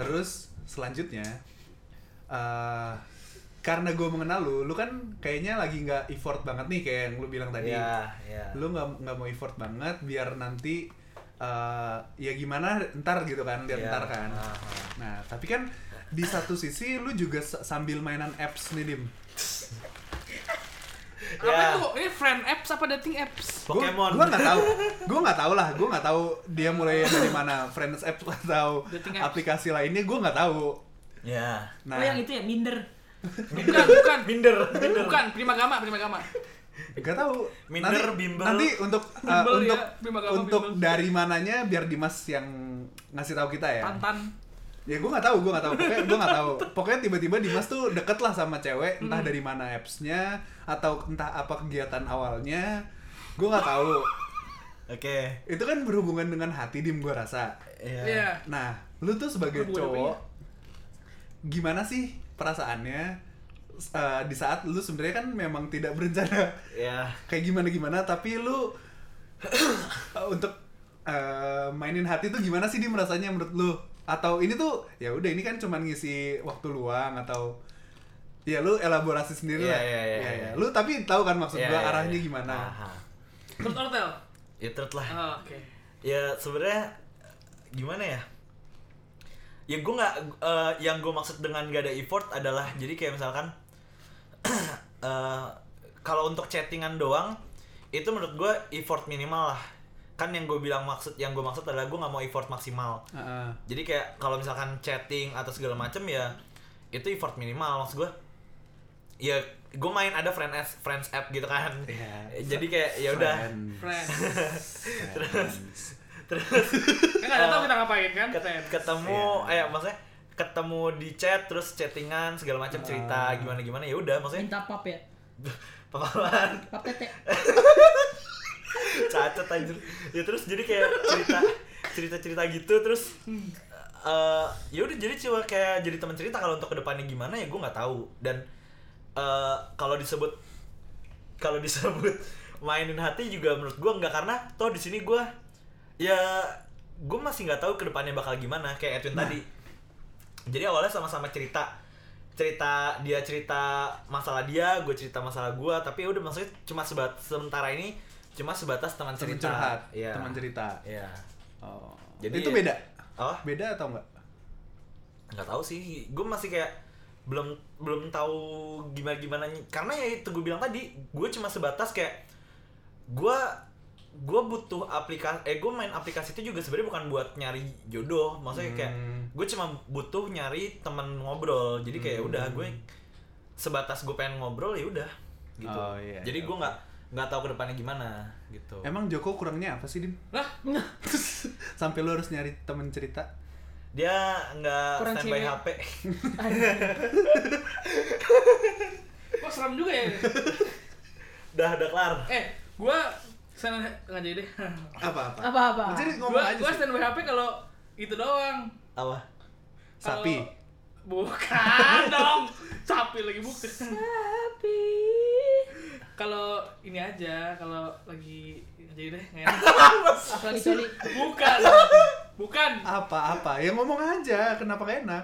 Speaker 2: Terus selanjutnya eh, karena gue mengenal lu, lu kan kayaknya lagi nggak effort banget nih kayak yang lu bilang tadi.
Speaker 1: Iya, iya.
Speaker 2: Lu nggak nggak mau effort banget biar nanti eh, ya gimana ntar gitu kan, lihat
Speaker 1: Iya.
Speaker 2: ntar kan.
Speaker 1: Ah, ah.
Speaker 2: Nah tapi kan di satu sisi lu juga s- sambil mainan apps nih dim.
Speaker 3: Apa
Speaker 1: Iya.
Speaker 3: itu? Ini friend apps apa dating apps?
Speaker 2: Gua-
Speaker 1: Pokemon.
Speaker 2: Gua nggak tahu. Gua nggak tahu lah. Gua nggak tahu dia mulai dari mana. Friends apps atau
Speaker 3: Dating apps.
Speaker 2: aplikasi lainnya gua nggak tahu.
Speaker 1: Iya.
Speaker 2: Nah,
Speaker 4: Oh yang itu ya minder.
Speaker 3: Bukan, bukan.
Speaker 1: Minder.
Speaker 3: Bukan, Prima Gama, Prima Gama.
Speaker 2: Gak tahu.
Speaker 1: Minder,
Speaker 2: nanti,
Speaker 1: bimbel.
Speaker 2: Nanti untuk uh,
Speaker 3: Bimbel
Speaker 2: untuk
Speaker 3: ya, bimbel apa
Speaker 2: untuk
Speaker 3: bimbel?
Speaker 2: dari mananya biar Dimas yang ngasih tahu
Speaker 1: Iya.
Speaker 2: kita ya.
Speaker 3: Tantan.
Speaker 2: Ya gue nggak tahu, gue nggak tahu. Pokoknya gue nggak tahu. Pokoknya tiba-tiba Dimas tuh deket lah sama cewek, entah dari mana appsnya atau entah apa kegiatan awalnya. Gue nggak tahu.
Speaker 1: Oke.
Speaker 2: Itu kan berhubungan dengan hati Dim gue rasa.
Speaker 1: Iya.
Speaker 3: Iya.
Speaker 2: Nah, lu tuh sebagai
Speaker 3: Berhubungan apa
Speaker 2: cowok gimana sih perasaannya uh, di saat lu sebenarnya kan memang tidak berencana
Speaker 1: Iya.
Speaker 2: kayak gimana gimana tapi lu untuk eh, mainin hati tuh gimana sih dia merasanya menurut lu atau ini tuh ya udah ini kan cuman ngisi waktu luang atau ya lu elaborasi sendiri
Speaker 1: Iya,
Speaker 2: lah
Speaker 1: iya, iya,
Speaker 2: Ya,
Speaker 1: iya.
Speaker 2: ya. lu tapi tahu kan maksud
Speaker 1: Iya,
Speaker 2: gua
Speaker 1: iya,
Speaker 2: arahnya
Speaker 1: iya.
Speaker 2: gimana
Speaker 1: Aha.
Speaker 3: Terus Ortel.
Speaker 1: Ya terus lah.
Speaker 3: Oh, Oke.
Speaker 1: ya sebenarnya gimana ya ya gue nggak eh, yang gue maksud dengan gak ada effort adalah jadi kayak misalkan eh, kalau untuk chattingan doang itu menurut gue effort minimal lah kan yang gue bilang maksud yang gue maksud adalah gue nggak mau effort maksimal
Speaker 2: Heeh.
Speaker 1: jadi kayak kalau misalkan chatting atau segala macem ya itu effort minimal maksud gue ya gue main ada friend apps friends app gitu kan
Speaker 2: Iya.
Speaker 1: jadi kayak ya udah
Speaker 2: Friends.
Speaker 3: Friend.
Speaker 2: Friends.
Speaker 1: terus
Speaker 3: Kan nggak tahu kita ngapain kan? Friend.
Speaker 1: Eh, Ket- ketemu eh maksudnya ketemu di chat terus chattingan segala macam cerita gimana gimana ya udah maksudnya
Speaker 4: Minta pap ya.
Speaker 1: pemahaman
Speaker 4: Pap tete.
Speaker 1: cacat anjir ya terus jadi kayak cerita cerita cerita gitu terus eh ya udah jadi cuma kayak jadi teman cerita kalau untuk kedepannya gimana ya gue nggak tahu dan eh kalau disebut kalau disebut mainin hati juga menurut gue nggak karena toh di sini gue ya gue masih nggak tahu kedepannya bakal gimana kayak Edwin
Speaker 2: Nah.
Speaker 1: tadi jadi awalnya sama-sama cerita cerita dia cerita masalah dia gue cerita masalah gue tapi ya udah maksudnya cuma sebat sementara ini cuma sebatas teman
Speaker 2: teman
Speaker 1: cerita
Speaker 2: curhat
Speaker 1: Iya.
Speaker 2: teman cerita
Speaker 1: Iya.
Speaker 2: oh.
Speaker 1: Jadi-
Speaker 2: itu beda
Speaker 1: oh
Speaker 2: beda atau enggak
Speaker 1: nggak tahu sih gue masih kayak belum belum tahu gimana gimana karena ya itu gue bilang tadi gue cuma sebatas kayak gue gue butuh aplikasi eh gue main aplikasi itu juga sebenarnya bukan buat nyari jodoh maksudnya kayak
Speaker 2: Hmm.
Speaker 1: gue cuma butuh nyari temen ngobrol jadi kayak
Speaker 2: Hmm.
Speaker 1: udah gue sebatas gue pengen ngobrol ya udah gitu
Speaker 2: Oh, iya,
Speaker 1: jadi gue nggak nggak tahu kedepannya gimana gitu
Speaker 2: emang Joko kurangnya apa sih dim
Speaker 3: Lah,
Speaker 2: sampai lu harus nyari teman cerita
Speaker 1: dia nggak
Speaker 4: Kurang
Speaker 1: standby
Speaker 4: cewek.
Speaker 1: HP
Speaker 3: kok seram juga ya?
Speaker 1: udah udah kelar
Speaker 3: Eh, gua sana nggak jadi deh.
Speaker 2: apa apa
Speaker 4: Apa-apa.
Speaker 2: jadi ngomong
Speaker 3: Gua
Speaker 2: aja
Speaker 3: gua
Speaker 2: sih.
Speaker 3: stand WHP kalau itu doang.
Speaker 1: apa
Speaker 3: Kalau-
Speaker 2: sapi
Speaker 3: Bukan dong. Sapi lagi bukan.
Speaker 4: Tapi
Speaker 3: Kalau ini aja, kalau lagi nggak jadi deh, nggak enak.
Speaker 4: apalagi coli.
Speaker 3: Bukan. Bukan.
Speaker 2: apa-apa ya ngomong aja kenapa gak enak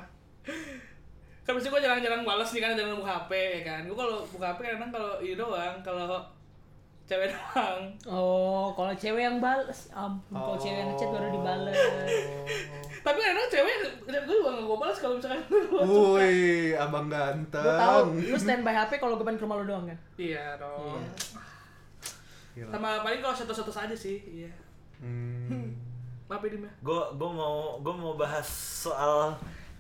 Speaker 3: Kan biasanya gue jarang-jarang balas nih kan jarang buka HP ya kan. Gue kalau buka HP kadang kalau ini doang, kalau cewek doang
Speaker 4: Oh, kalau cewek yang balas, ampun,
Speaker 2: Oh.
Speaker 4: kalau cewek yang chat baru dibales.
Speaker 3: tapi kadang cewek dan gue juga gak gue balas kalau misalkan gue suka
Speaker 2: Woi, abang
Speaker 4: Gue tahu,
Speaker 2: ganteng.
Speaker 4: lu standby HP kalau gue main ke rumah lu doang kan.
Speaker 3: iya dong
Speaker 2: Gila.
Speaker 3: sama paling kalau satu-satu saja sih iya
Speaker 2: Hmm.
Speaker 3: maaf ya Dim ya
Speaker 1: Gue gue mau gue mau bahas soal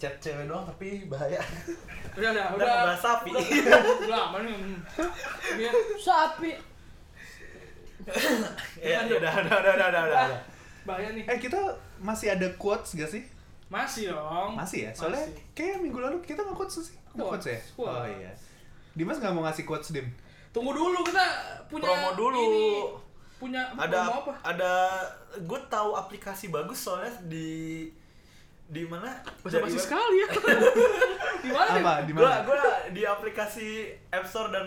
Speaker 1: chat cewek doang tapi bahaya.
Speaker 3: udah udah
Speaker 1: Udah
Speaker 3: udah
Speaker 1: bahas sapi.
Speaker 3: udah aman nih Iya.
Speaker 4: Sapi.
Speaker 1: ya, ya, udah, udah, udah, udah, udah, udah.
Speaker 3: Ah, bahaya nih
Speaker 2: Eh kita masih ada quotes gak sih?
Speaker 3: masih dong
Speaker 2: Masih ya, soalnya
Speaker 3: Masih.
Speaker 2: kayak minggu lalu kita nggak quotes sih. Nggak quotes ya?
Speaker 3: Quotes, quotes.
Speaker 2: Oh iya. Dimas nggak mau ngasih quotes Dim.
Speaker 3: tunggu dulu kita punya
Speaker 1: Promo dulu.
Speaker 3: ini. punya apa,
Speaker 1: Ada
Speaker 3: promo apa
Speaker 1: ada gue tahu aplikasi bagus soalnya di di mana?
Speaker 3: bahasa basi sekali ya di mana Oh, Dim?
Speaker 2: Apa? Di
Speaker 1: Gue
Speaker 2: mana?
Speaker 1: gue di aplikasi App Store dan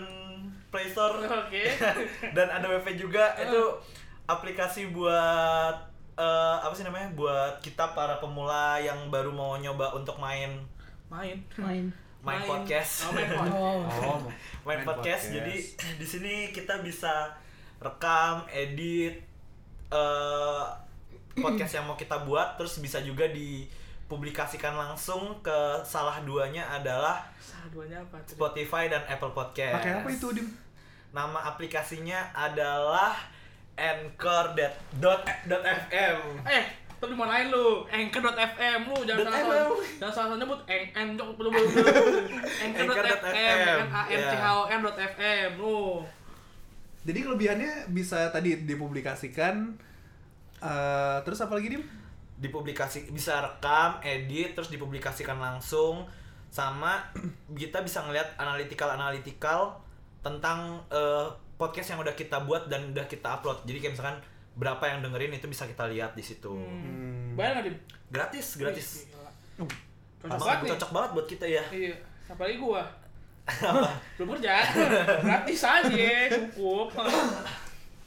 Speaker 1: Play Store
Speaker 3: oke
Speaker 1: dan ada WP
Speaker 3: Oh.
Speaker 1: juga itu aplikasi buat eh, apa sih namanya buat kita para pemula yang baru mau nyoba untuk main
Speaker 3: main
Speaker 4: Main.
Speaker 1: main, podcast
Speaker 3: oh, main podcast
Speaker 2: Oh,
Speaker 4: Oh.
Speaker 1: main, podcast. jadi di sini kita bisa rekam edit eh, podcast yang mau kita buat terus bisa juga dipublikasikan langsung ke salah duanya adalah
Speaker 3: Salah duanya apa tuh?
Speaker 1: Spotify dan Apple Podcast
Speaker 2: Pakai apa itu Dim?
Speaker 1: Nama aplikasinya adalah anchor.fm.
Speaker 3: Eh, tadi mau naik lu, anchor.fm lu jangan
Speaker 1: Dot
Speaker 3: salah
Speaker 1: FM.
Speaker 3: salah jangan salah salah nyebut eng eng jok belum belum belum. anchor.fm
Speaker 1: Anchor.fm,
Speaker 3: n a n c h o r dot fm lu.
Speaker 2: Jadi kelebihannya bisa tadi dipublikasikan. eh terus apa lagi Dim?
Speaker 1: Dipublikasi bisa rekam, edit, terus dipublikasikan langsung sama kita bisa ngelihat analytical-analytical tentang eh, podcast yang udah kita buat dan udah kita upload. Jadi kayak misalkan berapa yang dengerin itu bisa kita lihat di situ.
Speaker 3: Hmm. Bayar nggak dim?
Speaker 1: Gratis, gratis.
Speaker 3: Wih, gila.
Speaker 2: Uh,
Speaker 3: Cocok
Speaker 1: Pasti
Speaker 3: banget nih.
Speaker 1: cocok banget buat kita ya.
Speaker 3: Iya, apalagi gua. belum kerja, gratis aja, cukup.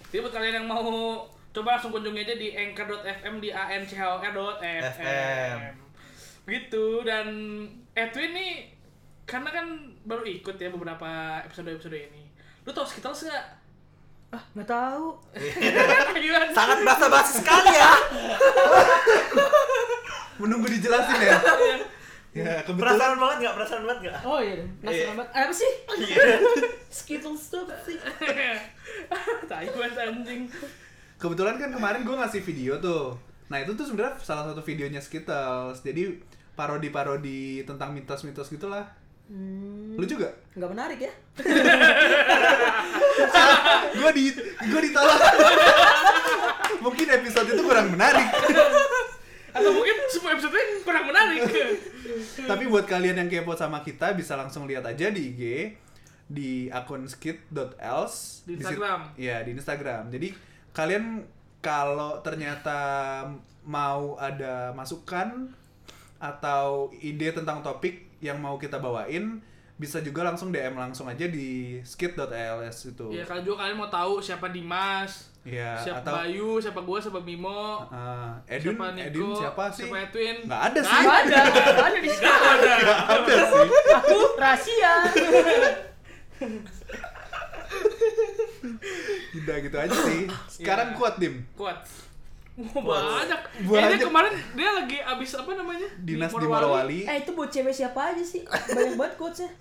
Speaker 3: Jadi buat kalian yang mau coba langsung kunjungi aja di anchor.fm di a n c h o r dot
Speaker 1: FM.
Speaker 3: fm. Gitu dan Edwin nih karena kan baru ikut ya beberapa episode-episode ini. Lu tau Skittles nggak?
Speaker 4: Ah, nggak tahu.
Speaker 3: Gila.
Speaker 1: Sangat basa-basi sekali ya.
Speaker 2: Menunggu dijelasin ya. ya kebetulan.
Speaker 1: Hmm. Perasaan banget nggak? Perasaan banget nggak?
Speaker 4: Oh iya,
Speaker 1: Iya.
Speaker 4: nasi lambat. Apa sih?
Speaker 1: Iya.
Speaker 4: Skittles tuh apa sih?
Speaker 3: Tai banget anjing.
Speaker 2: Kebetulan kan kemarin gue ngasih video tuh. Nah itu tuh sebenarnya salah satu videonya Skittles. Jadi parodi-parodi tentang mitos-mitos gitulah.
Speaker 4: Hmm,
Speaker 2: Lu juga?
Speaker 4: nggak menarik ya?
Speaker 2: gue di gue ditolak. Mungkin episode itu kurang menarik.
Speaker 3: Atau mungkin semua episode-nya kurang menarik.
Speaker 2: Tapi buat kalian yang kepo sama kita bisa langsung lihat aja di IG di akun skit.else
Speaker 3: Di
Speaker 2: sit-
Speaker 3: Instagram.
Speaker 2: Iya, di Instagram. Jadi kalian kalau ternyata mau ada masukan atau ide tentang topik yang mau kita bawain bisa juga langsung DM langsung aja di skit.ls itu.
Speaker 3: Iya, kalau juga kalian mau tahu siapa Dimas,
Speaker 2: Iya,
Speaker 3: siapa
Speaker 2: atau-
Speaker 3: Bayu, siapa gua, siapa Bimo,
Speaker 2: Ah, Edwin,
Speaker 3: siapa Nico,
Speaker 2: Edwin siapa sih?
Speaker 3: Siapa Edwin?
Speaker 2: Nggak ada sih.
Speaker 4: Nggak ada, nggak ada di sini.
Speaker 2: Nggak ada sih.
Speaker 4: Aku rahasia.
Speaker 2: Udah gitu aja sih.
Speaker 3: Iya.
Speaker 2: Sekarang kuat, Dim.
Speaker 3: Kuat. Wah, banyak.
Speaker 2: Banyak.
Speaker 3: Kayaknya kemarin dia lagi abis apa namanya?
Speaker 2: Dinas di Morowali.
Speaker 4: Eh itu buat cewek siapa aja sih? Banyak banget quotesnya.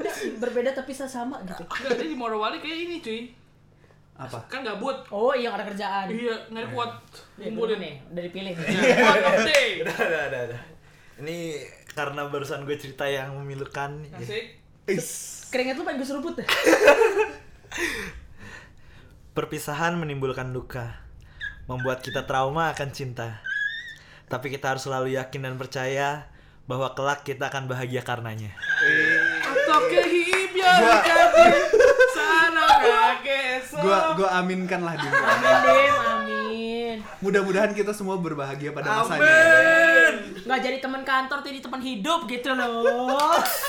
Speaker 4: Udah berbeda tapi sama gitu.
Speaker 3: Enggak, dia di Morowali kayak ini cuy.
Speaker 2: Apa?
Speaker 3: Kan gabut.
Speaker 4: Oh iya nggak ada kerjaan.
Speaker 3: Iya, nggak ada kuat.
Speaker 4: Iya,
Speaker 3: Ngumpulin.
Speaker 4: nih, udah dipilih.
Speaker 3: Iya, Kuat update.
Speaker 1: Udah, udah, udah, udah. Ini karena barusan gue cerita yang memilukan. ya.
Speaker 3: Asik.
Speaker 2: Is.
Speaker 4: Keringet lu pengen gue seruput ya? deh.
Speaker 1: Perpisahan menimbulkan luka, membuat kita trauma akan cinta. Tapi kita harus selalu yakin dan percaya bahwa kelak kita akan bahagia karenanya.
Speaker 3: Atau kehibian
Speaker 2: Gua-
Speaker 3: kabin. Sana kageso.
Speaker 2: Gua gua aminkan lah Dim.
Speaker 4: Amin, Dim, amin.
Speaker 2: Mudah-mudahan kita semua berbahagia pada masanya.
Speaker 3: Amin.
Speaker 4: Nggak jadi teman kantor, jadi teman hidup gitu loh.